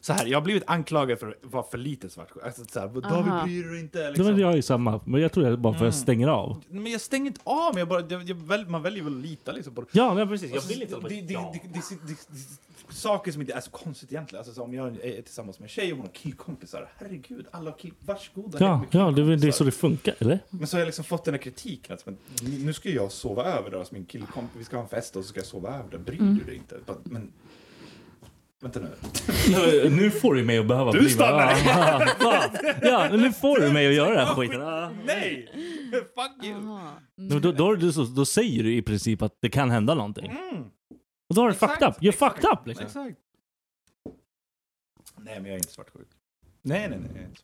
Speaker 5: så här, jag har blivit anklagad för att vara för lite svartsjuk. Alltså, så här, David
Speaker 8: Aha.
Speaker 5: bryr dig inte.
Speaker 8: Det
Speaker 5: Liksom.
Speaker 8: var jag är samma, men jag tror det är bara för att jag
Speaker 5: Mm.
Speaker 8: stänger av.
Speaker 5: Men jag stänger inte av mig. Jag bara, jag, jag väl, man väljer väl att lita liksom, på det.
Speaker 8: Ja, men precis. Jag
Speaker 5: Alltså,
Speaker 8: vill inte
Speaker 5: det, det, det, det, det, det, det, Saker som inte är så konstigt egentligen. Alltså, så om jag är tillsammans med en tjej och hon har killkompisar. Herregud, alla har kill... Varsågoda. hem
Speaker 8: Ja,
Speaker 5: med
Speaker 8: ja det, det är så det funkar, eller?
Speaker 5: Men så har jag liksom fått den här kritiken att men, nu ska jag sova över där hos min killkompis. Vi ska ha en fest och så ska jag sova över där. Bryr
Speaker 8: Mm.
Speaker 5: du dig inte? Bara, Men... Vänta nu.
Speaker 8: nu får du mig att behöva
Speaker 5: Du
Speaker 8: bli-
Speaker 5: stannar!
Speaker 8: Ja, fan. Ja, men nu får du mig att göra den här skiten. Ah, Ja.
Speaker 5: Nej! Fuck you!
Speaker 8: Men Då, då, då, då, då säger du i princip att det kan hända någonting. Och då har du fucked up. You're fucked up liksom.
Speaker 5: Exakt. Nej, men jag är inte svartsjuk. Nej, nej, nej. Jag är inte svartsjuk.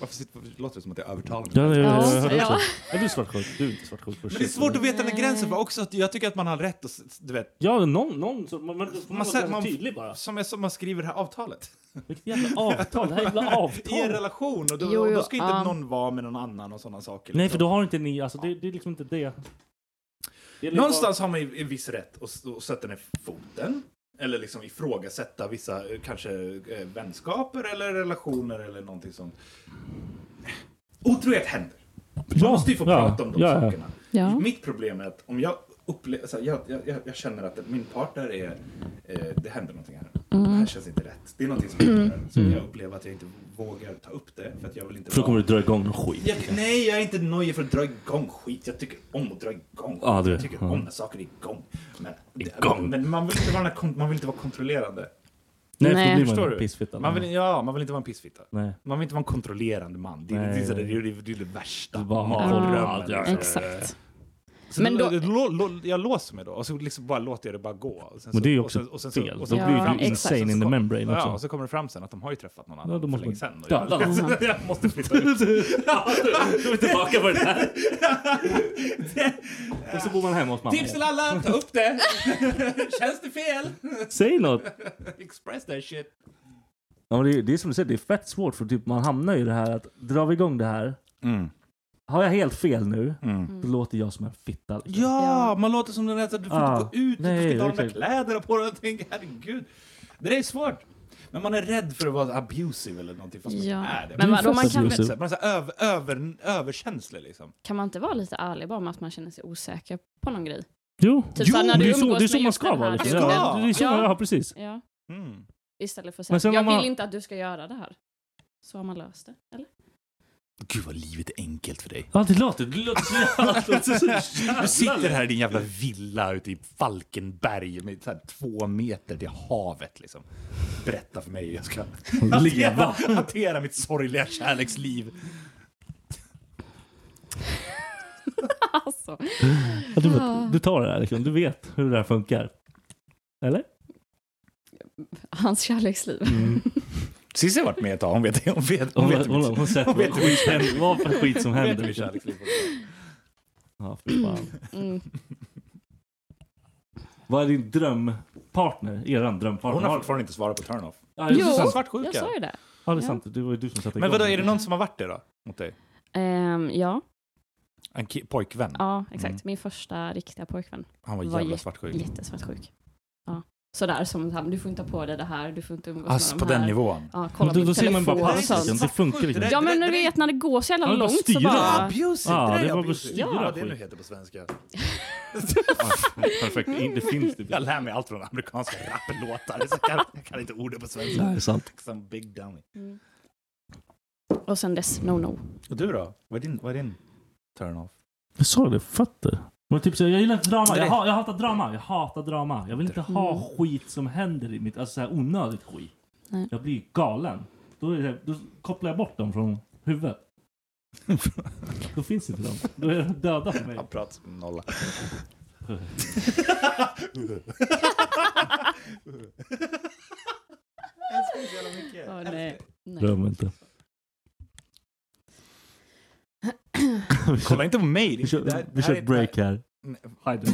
Speaker 5: Varför sitter, varför låter det som att jag övertalar
Speaker 8: Ja,
Speaker 5: mig?
Speaker 8: ja, ja, jag hörde
Speaker 5: Ja.
Speaker 8: också. Är du svartsjuk? Du är inte svartsjuk.
Speaker 5: Men det är svårt att veta den här gränsen. för Också att jag tycker att man har rätt att... s- Du vet.
Speaker 8: Ja, någon, någon som... Man, man, man, man,
Speaker 5: säger-
Speaker 8: man tydlig bara.
Speaker 5: Som, jag, som man skriver det här avtalet.
Speaker 8: Vilket jävla avtal. Det här är jävla avtal.
Speaker 5: I en relation. Och då,
Speaker 7: Jo,
Speaker 5: och
Speaker 7: jo,
Speaker 5: då ska inte
Speaker 7: ja.
Speaker 5: någon vara med någon annan och sådana saker.
Speaker 8: Nej,
Speaker 5: liksom.
Speaker 8: för då har inte ni... Alltså, det, det är liksom inte det. Det är liksom-
Speaker 5: Någonstans har man ju en viss rätt att s- att sätta ner foten. Eller liksom ifrågasätta vissa eh, kanske eh, vänskaper eller relationer eller någonting sånt. Otrohet händer. Man måste ju få
Speaker 8: ja,
Speaker 5: prata om de
Speaker 8: ja, ja.
Speaker 5: sakerna.
Speaker 7: Ja.
Speaker 5: Mitt problem är att om jag upplever, så här, jag, jag, jag, jag känner att min partner är, eh, det händer någonting här.
Speaker 8: Mm.
Speaker 5: Det här känns inte rätt. Det är någonting som
Speaker 8: Mm.
Speaker 5: inte är rätt. Så
Speaker 8: Mm.
Speaker 5: jag upplever att jag inte vågar ta upp det för att jag vill inte
Speaker 8: För då
Speaker 5: vara-
Speaker 8: kommer du dra igång någon skit.
Speaker 5: jag, nej, jag är inte nojig för att dra igång skit. Jag tycker om att dra igång. skit.
Speaker 8: Ja, Ah, du-
Speaker 5: jag tycker
Speaker 8: ja.
Speaker 5: om när saker är igång. Men,
Speaker 8: Igång.
Speaker 5: men man, vill inte vara den här, kon- man vill inte vara kontrollerande.
Speaker 8: Nej, för då blir man
Speaker 5: Förstår
Speaker 8: en
Speaker 5: du?
Speaker 8: pissfitta.
Speaker 5: Man vill, ja, man vill inte vara en pissfitta.
Speaker 8: Nej.
Speaker 5: Man vill inte vara en kontrollerande man. Det är,
Speaker 8: Nej. Mm.
Speaker 5: det, är så där, det, är, det, är, det, är det värsta.
Speaker 8: bara-
Speaker 5: mardrömmen,
Speaker 8: Ja, ja,
Speaker 5: liksom.
Speaker 8: exakt.
Speaker 5: Så
Speaker 7: Men
Speaker 5: men
Speaker 7: då-
Speaker 5: då, lo, lo, jag låser mig då och så liksom bara låter jag det bara gå. Och sen
Speaker 8: Men
Speaker 5: så-
Speaker 8: det är ju
Speaker 5: Alltså,
Speaker 8: också
Speaker 5: och sen- och sen så-
Speaker 8: fel.
Speaker 5: och sen-
Speaker 8: Då blir
Speaker 7: Ja,
Speaker 8: du
Speaker 7: exakt.
Speaker 8: insane in the membrane
Speaker 5: Ja,
Speaker 8: också.
Speaker 5: och så kommer det fram sen att de har ju träffat någon annan
Speaker 8: Ja, då
Speaker 5: för
Speaker 8: måste
Speaker 5: länge
Speaker 8: man
Speaker 5: sedan. och
Speaker 8: döda
Speaker 5: jag-
Speaker 8: honom.
Speaker 5: jag måste flytta ut.
Speaker 8: Då är vi tillbaka på det här. Och så bor man hemma hos mamma.
Speaker 5: Tips till alla, ta upp det! Känns det fel?
Speaker 8: Säg något.
Speaker 5: Express that shit.
Speaker 8: Ja, men det, är, det är som du säger, det är fett svårt för typ, man hamnar ju i det här att drar vi igång det här. Har jag helt fel nu,
Speaker 5: Mm.
Speaker 8: då låter jag som en fitta. liksom.
Speaker 5: Ja, man låter som den där så att du får
Speaker 8: Ah,
Speaker 5: inte gå ut,
Speaker 8: nej,
Speaker 5: du ska inte ha de där
Speaker 8: exakt.
Speaker 5: kläderna på dig. Jag tänker, herregud. Det där är svårt. Men man är rädd för att vara abusive eller någonting fast man
Speaker 7: Ja.
Speaker 5: inte är det.
Speaker 7: Men
Speaker 5: Man är
Speaker 7: vadå, man
Speaker 5: fast
Speaker 7: kan väl-
Speaker 5: abusive. Man är så här över, över, överkänslig liksom.
Speaker 7: Kan man inte vara lite ärlig bara med att man känner sig osäker på någon grej?
Speaker 8: Jo,
Speaker 7: Typ
Speaker 8: jo
Speaker 7: såhär när
Speaker 8: det,
Speaker 7: du
Speaker 8: är så,
Speaker 7: umgås
Speaker 8: det är
Speaker 7: med
Speaker 8: så man
Speaker 7: just
Speaker 8: ska
Speaker 7: den
Speaker 8: vara.
Speaker 7: här
Speaker 8: Liksom.
Speaker 5: personen.
Speaker 8: Ja, det är så,
Speaker 7: Ja.
Speaker 8: ja. precis.
Speaker 7: Ja.
Speaker 5: Mm.
Speaker 7: Istället för att
Speaker 8: Men
Speaker 7: säga,
Speaker 8: sen
Speaker 7: jag
Speaker 8: om man-
Speaker 7: vill inte att du ska göra det här. Så har man löst det, eller?
Speaker 5: Gud vad livet är enkelt för dig. Alltså,
Speaker 8: Ja, det låter, det låter så jävla...
Speaker 5: Du sitter här i din jävla villa ute i Falkenberg med så här två meter till havet liksom. Berätta för mig hur jag ska
Speaker 8: Leva.
Speaker 5: hantera- hantera mitt sorgliga kärleksliv.
Speaker 7: alltså.
Speaker 8: Ja, du, vet, du tar det här liksom. Du vet hur det här funkar. Eller? Mm.
Speaker 7: Hans kärleksliv.
Speaker 5: Cissi har varit med ett tag, hon vet hon vet,
Speaker 8: Hon,
Speaker 5: hon
Speaker 8: hon,
Speaker 5: vet,
Speaker 8: hon, har sett vad,
Speaker 5: hur mitt
Speaker 8: skit händer, vad för skit som
Speaker 5: hon vet
Speaker 8: händer.
Speaker 5: hur mitt
Speaker 8: Liksom.
Speaker 5: kärleksliv
Speaker 8: Ja, fy fan.
Speaker 7: Mm.
Speaker 8: Vad är din drömpartner? Eran drömpartner?
Speaker 5: Hon har
Speaker 8: Har-
Speaker 5: fortfarande inte svarat på turn-off.
Speaker 8: Ja,
Speaker 7: Jo,
Speaker 8: just det.
Speaker 5: svartsjuka.
Speaker 7: jag sa ju det.
Speaker 8: Ja, det är
Speaker 7: Ja.
Speaker 8: sant. Det var ju du som satte igång.
Speaker 5: Men vadå, är det någon som har varit det då? Mot dig?
Speaker 7: Ehm, ja.
Speaker 5: En ki- pojkvän?
Speaker 7: Ja, exakt.
Speaker 5: Mm.
Speaker 7: Min första riktiga pojkvän.
Speaker 5: Han var jävla svartsjuk.
Speaker 7: Jättesvartsjuk. Ja. Sådär som han, du får inte ha på dig det här, du får inte umgås
Speaker 5: Alltså,
Speaker 7: med de
Speaker 5: på den
Speaker 7: här.
Speaker 5: nivån.
Speaker 7: Ja, kolla
Speaker 5: Men då-
Speaker 7: min
Speaker 5: då ser man bara
Speaker 7: telefon och
Speaker 5: passiven,
Speaker 7: sånt.
Speaker 5: det funkar liksom inte.
Speaker 7: Ja, men
Speaker 5: Det-
Speaker 7: när du vet när det går så jävla
Speaker 5: Ja, det är bara
Speaker 7: långt så
Speaker 5: styra.
Speaker 7: bara...
Speaker 5: Abusing,
Speaker 8: Ja, det
Speaker 5: är
Speaker 8: var
Speaker 5: abusing.
Speaker 8: bestyra
Speaker 5: Ja, det är
Speaker 8: skit.
Speaker 5: nu heter det på svenska.
Speaker 8: Perfekt. In- Det finns typ- det.
Speaker 5: Jag lär mig allt från amerikanska rapplåtar. Så jag, kan, jag kan inte ordet på svenska.
Speaker 8: Nej, det är sant.
Speaker 5: Some big dummy.
Speaker 7: Och sen dess, no no.
Speaker 5: Och du då? Vad är din, vad är din turn-off?
Speaker 8: Jag sa det, fötter. Men typ så, jag gillar inte drama. Jag,
Speaker 5: Nej.
Speaker 8: ha, jag hatar drama. Jag hatar drama. Jag vill inte
Speaker 7: Mm.
Speaker 8: ha skit som händer i mitt... Alltså så här onödigt skit.
Speaker 7: Nej.
Speaker 8: Jag blir galen. Då, är det, då kopplar jag bort dem från huvudet. då finns inte de. Då är de döda för mig.
Speaker 5: Han pratar som nolla.
Speaker 7: Åh, nej. Nej.
Speaker 8: Dröm inte.
Speaker 5: Kolla inte på mig. det-
Speaker 8: Vi kör,
Speaker 5: det här-
Speaker 8: vi
Speaker 5: det
Speaker 8: kör
Speaker 5: här
Speaker 8: ett
Speaker 5: är-
Speaker 8: break här.
Speaker 5: Nej.
Speaker 8: Hej då.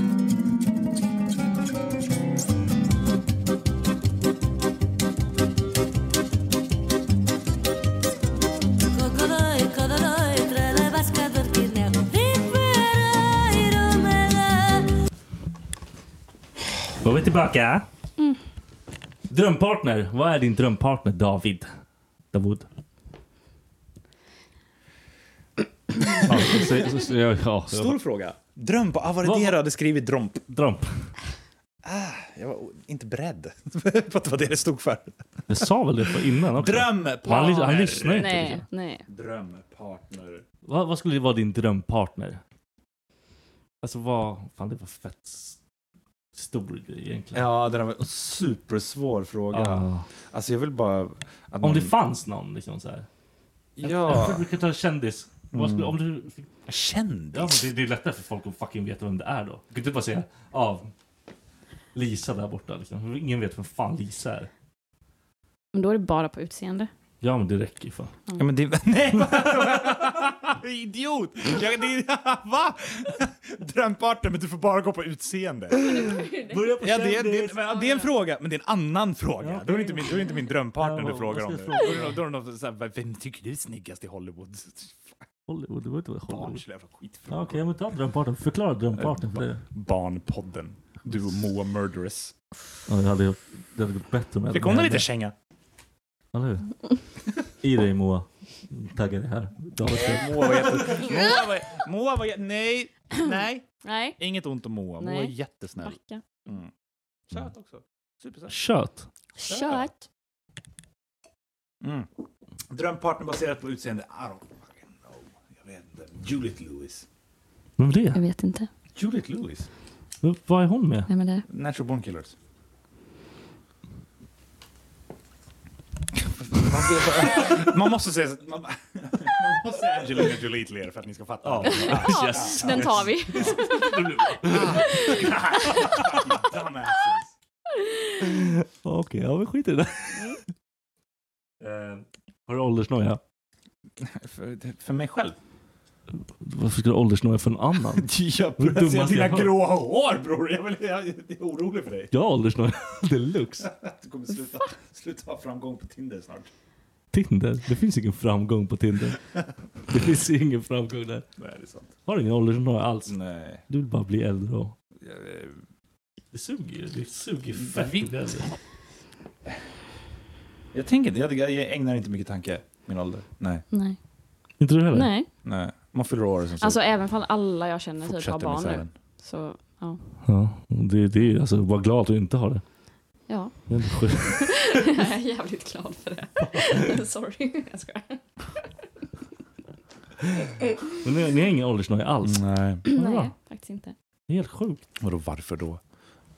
Speaker 8: Då är vi tillbaka. Mm. Drömpartner. Vad är din drömpartner David? Davud. ja, så, så, så, ja, ja.
Speaker 5: Stor fråga. Drömp. Ah, var det det du hade skrivit? Drömp.
Speaker 8: Drömp.
Speaker 5: Jag var inte beredd på att det var det det stod för.
Speaker 8: Jag sa väl det på innan också?
Speaker 5: Drömpartner.
Speaker 8: Han, ly- han lyssnar inte.
Speaker 7: Nej,
Speaker 8: liksom.
Speaker 7: nej.
Speaker 5: Drömpartner.
Speaker 8: Vad, vad skulle vara din drömpartner? Alltså vad... Fan det var fett s- stor grej egentligen.
Speaker 5: Ja, det där var en supersvår fråga.
Speaker 8: Ja.
Speaker 5: Alltså jag vill bara... Att
Speaker 8: Om det fanns någon liksom så här. Jag, jag
Speaker 5: Ja.
Speaker 8: brukar ta kändis. Vad skulle, om du fick Ja, men
Speaker 5: Kändis?
Speaker 8: det, det är lättare för folk att fucking veta vem det är då. Du kan inte bara säga av Lisa där borta liksom. Ingen vet vem fan Lisa är.
Speaker 7: Men då är det bara på utseende.
Speaker 8: Ja men det räcker ju fan.
Speaker 5: Ja, men det... Nej! Idiot! Jag, det, va? Drömpartner, men du får bara gå på utseende.
Speaker 8: Börja på
Speaker 5: Ja, det, är- det, är- det är en fråga, men det är en annan fråga. Då är det inte min, då är det inte min drömpartner
Speaker 8: Ja,
Speaker 5: du
Speaker 8: vad
Speaker 5: frågar
Speaker 8: ska
Speaker 5: om
Speaker 8: jag
Speaker 5: nu. Då
Speaker 8: fråga?
Speaker 5: är det- då är det någon så här, vem tycker du är snyggast i Hollywood?
Speaker 8: Hollywood, det var inte vad Hollywood.
Speaker 5: Barnsliga jävla skitfrågor.
Speaker 8: Ja, Okej, men ta drömparten. Förklara drömparten för dig.
Speaker 5: Barnpodden. Du och Moa Murderous.
Speaker 8: Ja, det, hade, det hade gått bättre med
Speaker 5: Det kom en liten känga.
Speaker 8: Eller hur? I dig Moa. Tagga dig här. David,
Speaker 5: Eh, Moa var jätte... Moa var... Moa var jä- nej, nej.
Speaker 7: Nej.
Speaker 5: Inget ont om Moa. Moa är
Speaker 7: Nej.
Speaker 5: jättesnäll.
Speaker 7: Backa.
Speaker 5: Mm. Söt också. Supersöt.
Speaker 8: Kött.
Speaker 7: Kött.
Speaker 5: Mm. Drömpartner baserat på utseende? I don't fucking know. Jag vet inte. Juliet Lewis.
Speaker 8: Vem är
Speaker 7: Jag
Speaker 8: det?
Speaker 7: vet inte.
Speaker 5: Juliet Lewis?
Speaker 8: V- Vad är hon med?
Speaker 7: Vem är det?
Speaker 5: Natural Born Killers. man måste säga så- man, man måste säga Angelina Jolie till er för att ni ska fatta.
Speaker 7: Ja, Den tar vi.
Speaker 5: Dumbasses.
Speaker 8: Okej, ja vi skiter i det. Eh, Har du åldersnoja?
Speaker 5: för, för mig själv?
Speaker 8: Varför ska du ha åldersnoja för en annan?
Speaker 5: Jag
Speaker 8: Det dummaste
Speaker 5: börjar se dina
Speaker 8: jag hört.
Speaker 5: gråa hår bror. Jag, vill, jag, jag är orolig för dig.
Speaker 8: Jag har åldersnoja deluxe.
Speaker 5: Du kommer sluta, sluta ha framgång på Tinder snart.
Speaker 8: Tinder? Det finns ingen framgång på Tinder. Det finns ingen framgång där.
Speaker 5: Nej, det är sant.
Speaker 8: Har du ingen åldersnoja alls?
Speaker 5: Nej.
Speaker 8: Du vill bara bli äldre och... Det suger ju. Det suger fett.
Speaker 5: Vi-
Speaker 8: att bli äldre.
Speaker 5: Jag tänker inte, jag, jag ägnar inte mycket tanke min ålder. Nej,
Speaker 7: Nej.
Speaker 8: Inte du heller?
Speaker 7: Nej.
Speaker 5: nej. Man fyller år och sen så
Speaker 7: Alltså även fall alla jag känner typ har
Speaker 5: fortsätter
Speaker 7: barn nu.
Speaker 5: misären.
Speaker 7: Så, ja.
Speaker 8: Ja, det, det är ju alltså, var glad att du inte har det.
Speaker 7: Ja.
Speaker 8: Det är inte sjukt.
Speaker 7: Jag är jävligt glad för det. Sorry, jag skojar.
Speaker 8: Men ni, ni har ingen åldersnoja alls.
Speaker 5: Nej.
Speaker 7: Nej, faktiskt inte.
Speaker 8: Det är helt sjukt.
Speaker 5: Vadå varför då?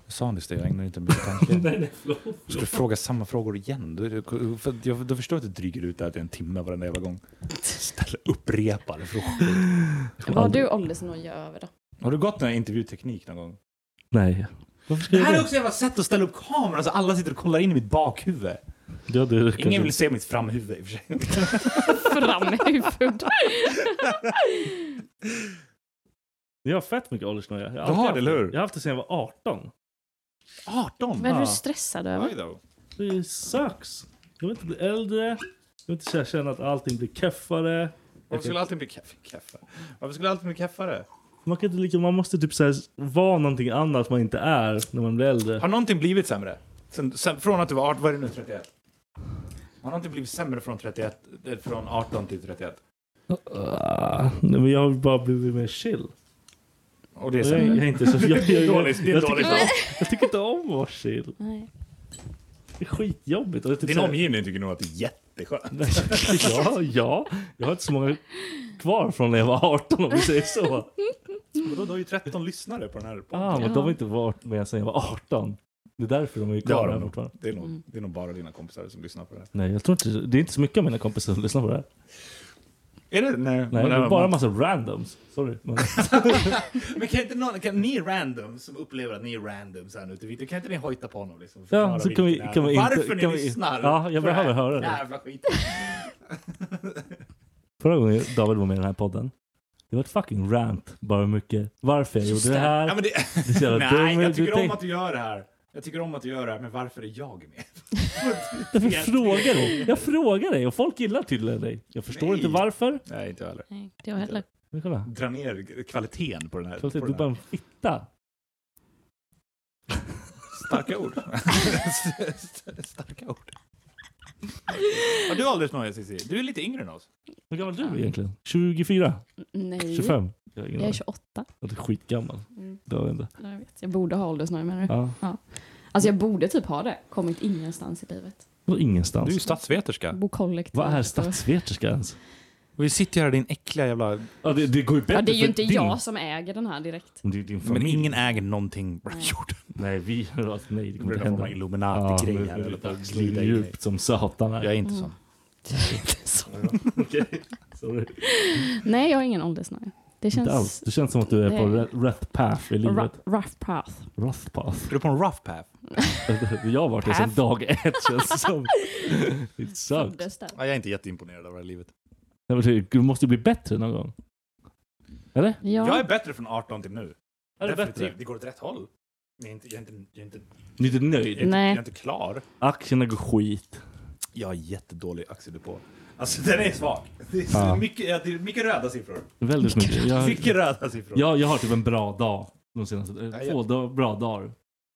Speaker 5: Jag sa nyss det, jag ägnar inte mycket tanke.
Speaker 8: nej, förlåt.
Speaker 5: Ska du fråga samma frågor igen? Du, du, för, att jag, då förstår jag att du dryger ut det här till en timme varenda jävla gång. Ställ upprepar frågor.
Speaker 7: Vad har du åldersnoja över då?
Speaker 5: Har du gått någon intervjuteknik någon gång?
Speaker 8: Nej. Varför ska
Speaker 5: Det
Speaker 8: jag
Speaker 5: här är
Speaker 8: det?
Speaker 5: också ett jävla sätt att ställa upp kameran så alla sitter och kollar in i mitt bakhuvud.
Speaker 8: Ja, det är kanske-
Speaker 5: Ingen vill se mitt framhuvud i och för sig.
Speaker 7: Fram med huvud.
Speaker 8: Jag har fett mycket åldersnoja. Jag
Speaker 5: Du har
Speaker 8: alltid
Speaker 5: det,
Speaker 8: haft
Speaker 5: eller hur?
Speaker 8: Jag har haft det sedan jag var 18.
Speaker 5: 18!
Speaker 7: Vad är du stressad över?
Speaker 5: Oj då.
Speaker 8: Det sucks. Jag vill inte bli äldre. Jag vill inte så här känna att allting blir keffare.
Speaker 5: Varför skulle allting bli kaffe? kaffe? Varför skulle allting bli kaffare?
Speaker 8: Man, kan inte, liksom, man måste typ så här, vara någonting annat man inte är när man blir äldre.
Speaker 5: Har någonting blivit sämre? Sen, sen, från att du var 18, vad är det nu, 31? Har någonting blivit sämre från, 31, eh, från 18 till 31?
Speaker 8: Ah, nej, men jag har bara blivit mer chill.
Speaker 5: Och det är
Speaker 8: jag,
Speaker 5: sämre.
Speaker 8: jag är inte så... Jag, jag,
Speaker 5: Det är
Speaker 8: jag,
Speaker 5: dåligt, det är
Speaker 8: jag, tycker,
Speaker 5: dåligt.
Speaker 8: inte om- jag tycker inte om att vara chill. Det är skitjobbigt. Och det är typ
Speaker 5: Din
Speaker 8: så här-
Speaker 5: omgivning tycker nog att det är jätteskönt.
Speaker 8: ja, ja, jag har inte så många kvar från när jag var 18 om vi säger så.
Speaker 5: Vadå, du har ju 13 lyssnare på den här podden.
Speaker 8: Ah, men de har inte varit med sedan jag var 18. Det är därför de är
Speaker 5: Det har
Speaker 8: kvar
Speaker 5: de
Speaker 8: här
Speaker 5: nog.
Speaker 8: fortfarande.
Speaker 5: Det är nog, det är nog bara dina kompisar som lyssnar på det här.
Speaker 8: Nej, jag tror inte, det är inte så mycket av mina kompisar som lyssnar på det här.
Speaker 5: Är det? Nej,
Speaker 8: Nej, det
Speaker 5: men-
Speaker 8: är bara en massa randoms. Sorry. Men,
Speaker 5: Men kan inte någon, kan ni random som upplever att ni är random så här nu till video, kan inte ni hojta på honom liksom? Förklara
Speaker 8: så kan vi-
Speaker 5: vilken
Speaker 8: kan
Speaker 5: är-
Speaker 8: vi inte-
Speaker 5: Varför
Speaker 8: kan
Speaker 5: ni
Speaker 8: vi-
Speaker 5: lyssnar?
Speaker 8: Ja, jag
Speaker 5: på
Speaker 8: behöver
Speaker 5: här
Speaker 8: höra det.
Speaker 5: Jävla skit.
Speaker 8: förra gången David var med i den här podden, det var ett fucking rant bara hur mycket. Varför jag gjorde det här.
Speaker 5: Ja, men det...
Speaker 8: är så jävla
Speaker 5: Nej,
Speaker 8: dumt.
Speaker 5: jag tycker om
Speaker 8: tänk-
Speaker 5: att du gör det här. Jag tycker om att du gör det här, men varför är jag med?
Speaker 8: Därför frågar dig. Jag frågar dig och folk gillar tydligen dig. Jag förstår
Speaker 5: Nej.
Speaker 8: inte varför.
Speaker 5: Nej, inte jag heller.
Speaker 7: Nej, inte jag heller.
Speaker 8: Men kolla.
Speaker 5: Dra ner kvaliteten på den här.
Speaker 8: Kolla,
Speaker 5: på
Speaker 8: Du är
Speaker 5: den
Speaker 8: bara
Speaker 5: här.
Speaker 8: en fitta.
Speaker 5: Starka ord. Starka ord. Har du åldersnoja, Cissi? Du är lite yngre än oss.
Speaker 8: Hur gammal är du egentligen? 24?
Speaker 7: Nej.
Speaker 8: 25? Jag har ingen
Speaker 7: Jag är
Speaker 8: aning.
Speaker 7: 28.
Speaker 8: Jag är skitgammal.
Speaker 7: Mm.
Speaker 8: Det har jag inte.
Speaker 7: Ja, Jag, vet. jag borde ha åldersnöje menar du?
Speaker 8: Ja.
Speaker 7: Alltså jag borde typ ha det. Kommit ingenstans i livet.
Speaker 8: Vadå Ingenstans.
Speaker 5: Du är ju statsveterska.
Speaker 7: Bo kollektivt.
Speaker 8: Vad är
Speaker 7: och-
Speaker 8: statsveterska ens?
Speaker 5: Vi sitter här i din äckliga jävla...
Speaker 8: Ja, det, det går ju bättre
Speaker 7: Ja, det är ju
Speaker 8: för
Speaker 7: inte
Speaker 8: din.
Speaker 7: jag som äger den här direkt.
Speaker 8: Men Det är ju din familj.
Speaker 5: Men ingen äger någonting på
Speaker 7: Nej.
Speaker 5: jorden.
Speaker 8: Nej, vi... Alltså, nej, det
Speaker 5: Det
Speaker 8: kommer
Speaker 5: blir
Speaker 8: inte
Speaker 5: någon form
Speaker 8: hända.
Speaker 5: av Illuminati-grej
Speaker 8: men
Speaker 5: här.
Speaker 8: vi-
Speaker 5: eller bara
Speaker 8: vi
Speaker 5: glida in i-
Speaker 8: djupt som satan här.
Speaker 5: Jag är inte sån.
Speaker 8: Sorry.
Speaker 7: Nej, jag har ingen åldersnöje. Det
Speaker 8: Inte alls.
Speaker 7: känns...
Speaker 8: Det känns som att du är på
Speaker 7: Nej.
Speaker 8: re- rätt path i
Speaker 7: Ra-
Speaker 8: livet.
Speaker 7: rough path.
Speaker 8: Rough path.
Speaker 5: Är du på en rough path?
Speaker 8: Jag har varit det sedan
Speaker 7: Path.
Speaker 8: dag ett känns det som. It sucks.
Speaker 7: Föddes där.
Speaker 5: jag är inte jätteimponerad av det här livet.
Speaker 8: Nej, men du- Du måste ju bli bättre någon gång. Eller?
Speaker 5: Jag
Speaker 7: Ja,
Speaker 5: är bättre från 18 till nu.
Speaker 8: Är du
Speaker 5: Definitivt.
Speaker 8: bättre?
Speaker 5: Det går åt rätt håll. Jag är inte, jag är inte, jag är inte,
Speaker 8: Du är inte
Speaker 5: jag är
Speaker 8: nöjd?
Speaker 5: inte,
Speaker 7: Nej.
Speaker 5: jag är inte klar.
Speaker 8: Aktierna går skit.
Speaker 5: Jag har jättedålig aktiedepå. Alltså den är svag. Det är, så
Speaker 8: Ja.
Speaker 5: mycket, ja, det är mycket röda siffror.
Speaker 8: Väldigt mycket. Jag,
Speaker 5: Mycket röda siffror.
Speaker 8: jag, jag har typ en bra dag. De senaste
Speaker 5: Ja,
Speaker 8: eh,
Speaker 5: ja.
Speaker 8: två dag, bra dagar.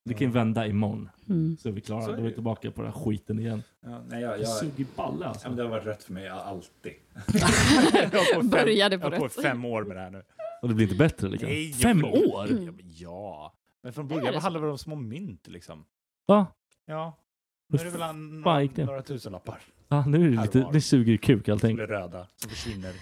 Speaker 8: Det kan ju vända imorgon.
Speaker 7: mm.
Speaker 8: Så är vi
Speaker 5: Så
Speaker 8: klara.
Speaker 5: är
Speaker 8: Då är
Speaker 5: det
Speaker 8: vi
Speaker 5: ju.
Speaker 8: tillbaka på den här skiten igen.
Speaker 5: Ja, nej, jag,
Speaker 8: Jag
Speaker 5: jag,
Speaker 8: suger balle
Speaker 5: ja, men
Speaker 8: alltså.
Speaker 5: det har varit rätt för mig alltid. jag har fem-
Speaker 7: Började på
Speaker 5: jag har
Speaker 7: rätt.
Speaker 5: fem år med det här nu.
Speaker 8: Och det blir inte bättre liksom. Fem
Speaker 5: förlåt.
Speaker 8: år?
Speaker 5: Ja, men, ja. men från
Speaker 7: Är
Speaker 5: början
Speaker 7: det
Speaker 5: vad handlade det om små mynt liksom.
Speaker 8: Va?
Speaker 5: Ja.
Speaker 8: Hur
Speaker 5: Nu är det väl an-
Speaker 8: fan
Speaker 5: några,
Speaker 8: gick det?
Speaker 5: några tusenlappar
Speaker 8: Ah, nu är det lite...
Speaker 5: Allvar.
Speaker 8: Det suger ju kuk
Speaker 5: som
Speaker 8: allting.
Speaker 5: blir röda, som försvinner.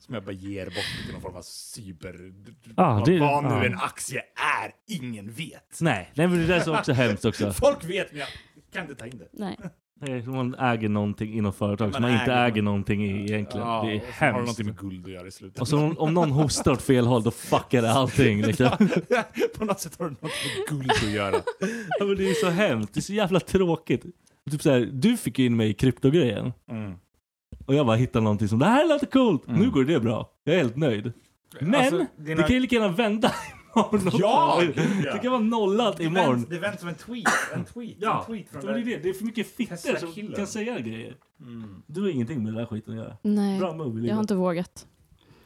Speaker 5: Som jag bara ger bort till någon form av cyber...
Speaker 8: Ah,
Speaker 5: vad
Speaker 8: det-
Speaker 5: vad
Speaker 8: ah.
Speaker 5: nu en aktie är, ingen vet.
Speaker 8: Nej, nej men det där är så också hemskt också.
Speaker 5: Folk vet, men jag kan inte ta in det.
Speaker 7: Nej.
Speaker 8: Nej, Man äger någonting inom företag som
Speaker 5: Man
Speaker 8: man inte
Speaker 5: äger-
Speaker 8: äger någonting i egentligen.
Speaker 5: Ja,
Speaker 8: Det är
Speaker 5: och så Har det
Speaker 8: hemskt.
Speaker 5: någonting med guld att göra i slutet?
Speaker 8: Och så om, om någon hostar åt fel håll, då fuckar det allting. Liksom.
Speaker 5: På något sätt har det något med guld att göra.
Speaker 8: Ja, men det är så hemskt. Det är så jävla tråkigt. Typ så här, du fick ju in mig i kryptogrejen.
Speaker 5: Mm.
Speaker 8: Och jag bara hittade någonting som det här låter coolt. Nu går det bra. Jag är helt nöjd. Men
Speaker 5: Alltså,
Speaker 8: det kan ju lika gärna vända imorgon. också.
Speaker 5: Ja, gud, ja.
Speaker 8: Det kan vara nollat
Speaker 5: Det vänds-
Speaker 8: imorgon.
Speaker 5: Alltså, Det vänds som en tweet. En tweet,
Speaker 8: Ja,
Speaker 5: en tweet från
Speaker 8: det, är det. det är för mycket fittor som
Speaker 5: Tesla-killen.
Speaker 8: kan säga grejer. Du har ingenting med den där skiten att göra.
Speaker 7: Nej.
Speaker 8: Bra move.
Speaker 7: Jag har inte vågat.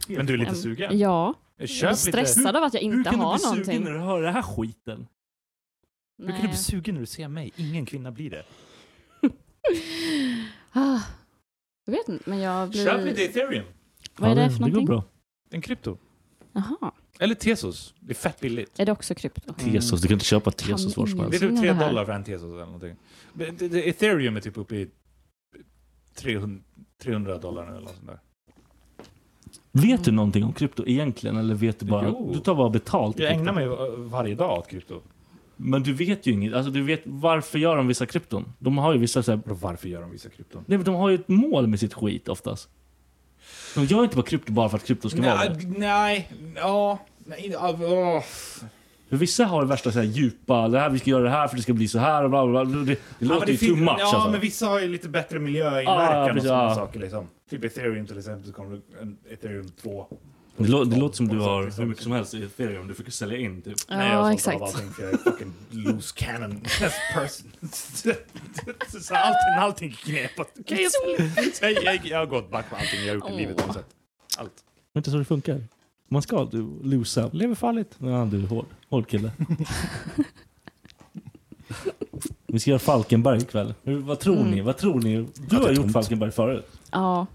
Speaker 5: Men du är lite
Speaker 7: Em,
Speaker 5: sugen?
Speaker 7: Ja. Jag
Speaker 5: Köp
Speaker 7: är stressad av att jag
Speaker 8: Hur
Speaker 7: inte
Speaker 8: kan du bli
Speaker 7: har
Speaker 8: sugen
Speaker 7: någonting.
Speaker 8: när du hör den här skiten?
Speaker 5: Hur kan du bli sugen när du ser mig? Ingen kvinna blir det.
Speaker 7: Ah. Jag vet inte, men jag blir...
Speaker 5: Köp lite ethereum.
Speaker 7: Vad är det
Speaker 8: Ja,
Speaker 7: för
Speaker 8: det går
Speaker 7: någonting?
Speaker 8: bra.
Speaker 5: En krypto.
Speaker 7: Jaha.
Speaker 5: Eller Tesos. Det är fett billigt.
Speaker 7: Är det också krypto?
Speaker 8: Tesos, du Mm. kan inte köpa Tesos
Speaker 7: Kan
Speaker 8: var som
Speaker 7: ingen-
Speaker 8: helst.
Speaker 5: Det är typ
Speaker 7: Ingenting
Speaker 5: 3
Speaker 7: av det här.
Speaker 5: dollar för en Tesos eller någonting. Men det- det- Ethereum är typ uppe i 300, 300 dollar nu eller något sånt där.
Speaker 8: Vet du någonting om krypto egentligen? Eller vet du bara...
Speaker 5: Jo.
Speaker 8: Du tar bara betalt. i
Speaker 5: Jag
Speaker 8: krypto.
Speaker 5: ägnar mig eh, varje dag åt krypto.
Speaker 8: Men du vet ju inget. Alltså du vet varför gör de vissa krypton? De har ju vissa så här,
Speaker 5: Och varför gör de vissa krypton?
Speaker 8: Nej men de har ju ett mål med sitt skit oftast. De gör inte bara krypto bara för att krypto ska vara
Speaker 5: Nej,
Speaker 8: det.
Speaker 5: nej, ja, nej, ja, åh.
Speaker 8: För vissa har det värsta så här djupa, det här, vi ska göra det här för det ska bli så här och bla bla bla. Det, det
Speaker 5: Ja, men
Speaker 8: låter ju too
Speaker 5: finns-
Speaker 8: much
Speaker 5: Ja,
Speaker 8: alltså.
Speaker 5: men vissa har ju lite bättre miljöinverkan
Speaker 8: Ah,
Speaker 5: och
Speaker 8: precis,
Speaker 5: sådana
Speaker 8: ja.
Speaker 5: saker liksom. Typ ethereum till exempel, så kommer det en ethereum 2.
Speaker 8: Det, lå- det låter som
Speaker 5: På
Speaker 8: du
Speaker 5: något sätt,
Speaker 8: har
Speaker 5: liksom.
Speaker 8: hur mycket som helst i ethereum du fick sälja in typ.
Speaker 7: Ja,
Speaker 5: Nej, jag har sålt
Speaker 7: exakt.
Speaker 5: av allting för jag är fucking loose cannon as person. så allting, allting knep. åt- Okej, jag, jag, jag, jag har gått back på allting jag har gjort i livet på något sätt.
Speaker 9: Allt.
Speaker 5: Det är inte så det funkar. Man ska du losa. Lever farligt. Ja, du är hård. Hård kille. Vi ska göra Falkenberg ikväll. Hur, vad tror
Speaker 8: Mm.
Speaker 5: ni? Vad tror ni? Du har gjort Falkenberg förut.
Speaker 8: Ja.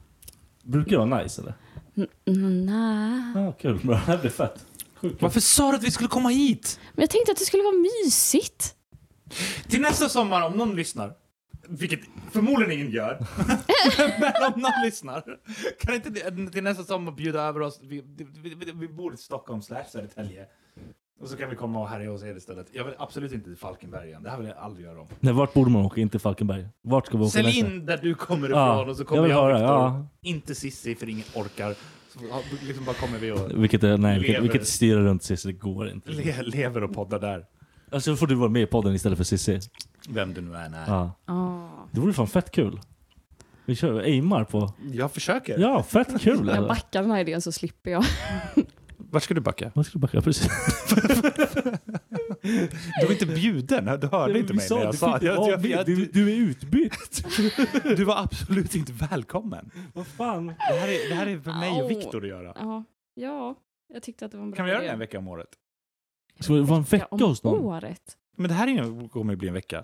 Speaker 5: Brukar det vara nice eller?
Speaker 8: N- n- nä.
Speaker 5: Ja, kul. Bra. Det här blir fett. Sjukt.
Speaker 9: Varför sa du att vi skulle komma hit?
Speaker 8: Men jag tänkte att det skulle vara mysigt.
Speaker 1: Till nästa sommar, om någon lyssnar, vilket förmodligen ingen gör, men om någon lyssnar, kan inte ni- till nästa sommar bjuda över oss? Vi, vi, vi, vi bor i Stockholm slash Södertälje. Och så kan vi komma och härja hos er istället. Jag vill absolut inte till Falkenberg igen. Det här vill jag aldrig göra om.
Speaker 5: Nej, vart borde man åka? Inte Falkenberg. Vart ska vi åka
Speaker 1: Sälj
Speaker 5: nästa?
Speaker 1: in där du kommer ifrån
Speaker 5: Ja,
Speaker 1: och så
Speaker 5: jag
Speaker 1: kommer
Speaker 5: vill
Speaker 1: jag, och
Speaker 5: höra,
Speaker 1: Viktor.
Speaker 5: ja.
Speaker 1: Inte Sissi för ingen orkar. Så ja, liksom bara kommer vi och
Speaker 5: Vilket, är, nej,
Speaker 1: lever,
Speaker 5: vilket, vilket styr runt Cissi, det går inte.
Speaker 1: le, lever och poddar där.
Speaker 5: Alltså då får du vara med i podden istället för Cissi.
Speaker 1: Vem du nu än är.
Speaker 5: Ja. Det vore fan fett kul. Vi kör, aimar på...
Speaker 1: Jag försöker.
Speaker 5: Ja, fett kul.
Speaker 8: Jag
Speaker 5: Alltså.
Speaker 8: backar den här idén så slipper jag.
Speaker 1: Vart ska du backa?
Speaker 5: Man skulle backa, precis.
Speaker 1: Du var inte bjuden. Du hörde
Speaker 5: Nej,
Speaker 1: inte
Speaker 5: vi
Speaker 1: mig när jag
Speaker 5: du
Speaker 1: sa
Speaker 5: fick vara med. du, du är utbytt.
Speaker 1: du, du var absolut inte välkommen.
Speaker 5: Vad fan?
Speaker 1: Det här är, det här är för mig
Speaker 8: Au.
Speaker 1: och Viktor att göra.
Speaker 8: Ja. ja, jag tyckte att det var en bra
Speaker 1: Kan vi göra det
Speaker 8: idé.
Speaker 1: en vecka om året?
Speaker 5: Ska det vara en vecka
Speaker 8: om
Speaker 5: hos någon?
Speaker 8: året.
Speaker 1: Men det här är ju- kommer ju bli en vecka.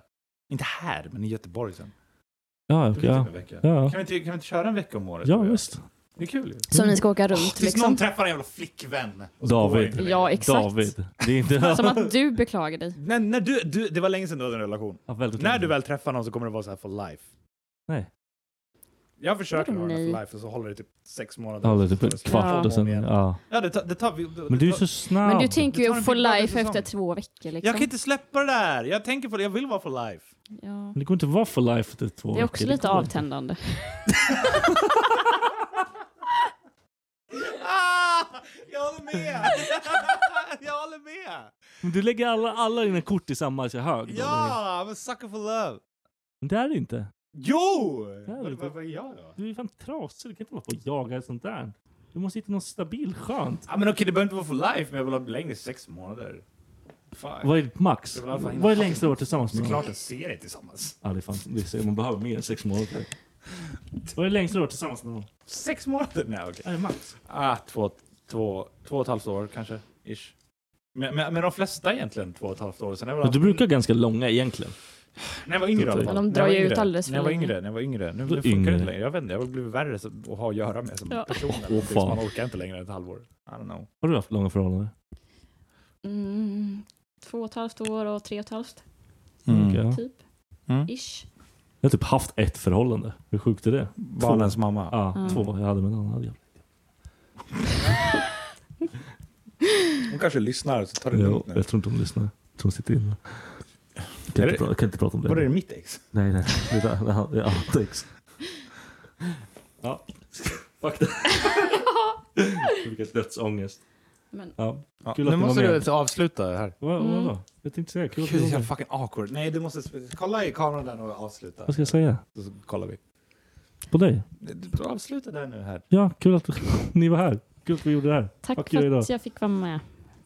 Speaker 1: Inte här, men i Göteborg sen.
Speaker 5: Ja,
Speaker 1: Det
Speaker 5: okej.
Speaker 1: blir
Speaker 5: ja.
Speaker 1: typ en vecka.
Speaker 5: Ja.
Speaker 1: Kan, vi inte, kan vi inte köra en vecka om året?
Speaker 5: ja, visst.
Speaker 1: Det är kul ju.
Speaker 8: Som ni ska åka runt
Speaker 1: Åh, tills någon
Speaker 8: liksom.
Speaker 1: träffar en jävla flickvän. Och så går det inte
Speaker 5: David.
Speaker 1: längre.
Speaker 8: Ja, exakt.
Speaker 5: David. Det är inte...
Speaker 8: Som att du beklagar dig.
Speaker 1: När, när du, du, det var länge sedan du hade en relation.
Speaker 5: Ja, väldigt
Speaker 1: När du väl träffar någon så kommer det vara så här for life.
Speaker 5: Nej.
Speaker 1: Jag försöker
Speaker 8: Vadå
Speaker 1: ha den
Speaker 8: nej?
Speaker 1: for life och så håller det typ sex månader.
Speaker 5: Ja, det
Speaker 1: och
Speaker 5: är
Speaker 1: så
Speaker 5: typ ett
Speaker 1: tar det slut.
Speaker 5: kvart och sen... Ja.
Speaker 1: Ja, det tar, det tar vi. det-
Speaker 5: Men du är
Speaker 1: det
Speaker 5: så
Speaker 1: tar-
Speaker 5: snabb.
Speaker 8: Men du tänker
Speaker 1: Vi tar typ
Speaker 8: ju
Speaker 1: en
Speaker 8: for
Speaker 1: bild varje
Speaker 8: life
Speaker 1: säsong.
Speaker 8: efter två veckor liksom.
Speaker 1: Jag kan inte släppa det där! Jag tänker på det, jag vill vara for life.
Speaker 8: ja.
Speaker 5: Men Det går inte att vara for life efter två
Speaker 8: Det är också
Speaker 5: veckor.
Speaker 8: lite
Speaker 5: går inte.
Speaker 8: avtändande.
Speaker 1: Ah! Jag håller med! jag håller med!
Speaker 5: Men Du lägger alla, alla dina kort i samma så hög. då.
Speaker 1: Ja, I'm a sucker for love!
Speaker 5: Men det är det inte.
Speaker 1: Jo!
Speaker 5: Ja,
Speaker 1: Vad-
Speaker 5: det-
Speaker 1: Vad vad gör jag då?
Speaker 5: Du är fan trasig. Du kan inte hålla på och jaga sånt där. Du måste hitta något stabilt, skönt.
Speaker 1: Ja, men okej, det behöver inte vara for life, men jag vill ha längre än sex månader. Fan.
Speaker 5: Vad är ditt max?
Speaker 1: Det var i alla fall
Speaker 5: Vad är längst du har varit tillsammans med någon?
Speaker 1: Såklart en serie tillsammans.
Speaker 5: Ja, det är fan, det är, så- man behöver mer än sex månader. Vad är längst du har varit tillsammans med någon?
Speaker 1: Sex månader? Nej, okej.
Speaker 5: Är det max?
Speaker 1: Ah, två, två, två och ett halvt år kanske, ish. Men, men, men de flesta egentligen två och ett halvt år. Sen när jag var,
Speaker 5: Men du brukar ganska långa egentligen.
Speaker 1: när jag var yngre i alla fall.
Speaker 8: Men de
Speaker 1: När
Speaker 8: drar
Speaker 1: jag
Speaker 8: ju
Speaker 1: var
Speaker 8: ut
Speaker 1: yngre.
Speaker 8: alldeles för
Speaker 1: När jag var
Speaker 8: länge.
Speaker 1: yngre, när jag var yngre. Nu
Speaker 5: Då
Speaker 1: funkar det
Speaker 5: yngre.
Speaker 1: inte längre. Jag vet inte, jag har blivit värre som- att ha att göra med som
Speaker 8: Ja.
Speaker 1: person. eller
Speaker 5: Åh,
Speaker 1: någonting, så
Speaker 5: fan.
Speaker 1: man orkar inte längre än ett halvår. I don't know.
Speaker 5: Har du haft långa förhållanden?
Speaker 8: Mm, två och ett halvt år och tre och ett halvt,
Speaker 5: Okej, ja.
Speaker 8: typ.
Speaker 1: Mm.
Speaker 8: Ish.
Speaker 5: Jag har typ haft ett förhållande. Hur sjukt är det?
Speaker 1: Barnens mamma.
Speaker 5: Ja,
Speaker 8: Mm.
Speaker 5: två. Jag hade med en annan. jävla-
Speaker 1: Hon kanske lyssnar så tar det
Speaker 5: Jag,
Speaker 1: lugnt nu.
Speaker 5: jag tror inte hon lyssnar. Jag tror hon sitter inne. Jag kan,
Speaker 1: Är
Speaker 5: inte,
Speaker 1: det-
Speaker 5: pra- jag kan inte prata om det.
Speaker 1: Var är det mitt ex?
Speaker 5: Nej, nej. Det där, det här- det är outtakes. Ja. Fuck det. Jag fick ett dödsångest.
Speaker 8: Men-
Speaker 5: Ja.
Speaker 1: Ja,
Speaker 5: Kul att
Speaker 1: nu
Speaker 5: ni var
Speaker 1: måste
Speaker 5: med.
Speaker 1: du avsluta här.
Speaker 5: Vad, vad
Speaker 8: Mm.
Speaker 5: då? Jag tänkte säga kul att
Speaker 1: Gud,
Speaker 5: ni var
Speaker 1: jag är
Speaker 5: med.
Speaker 1: fucking awkward. Nej, du måste... Kolla i kameran där och avsluta.
Speaker 5: Vad ska jag säga?
Speaker 1: Så så kollar vi.
Speaker 5: På dig?
Speaker 1: Du- Avsluta där nu här.
Speaker 5: Ja, kul att ni var här. Kul att vi gjorde det här.
Speaker 8: Tack
Speaker 5: Fuck you
Speaker 8: för
Speaker 5: idag.
Speaker 8: att jag fick vara med.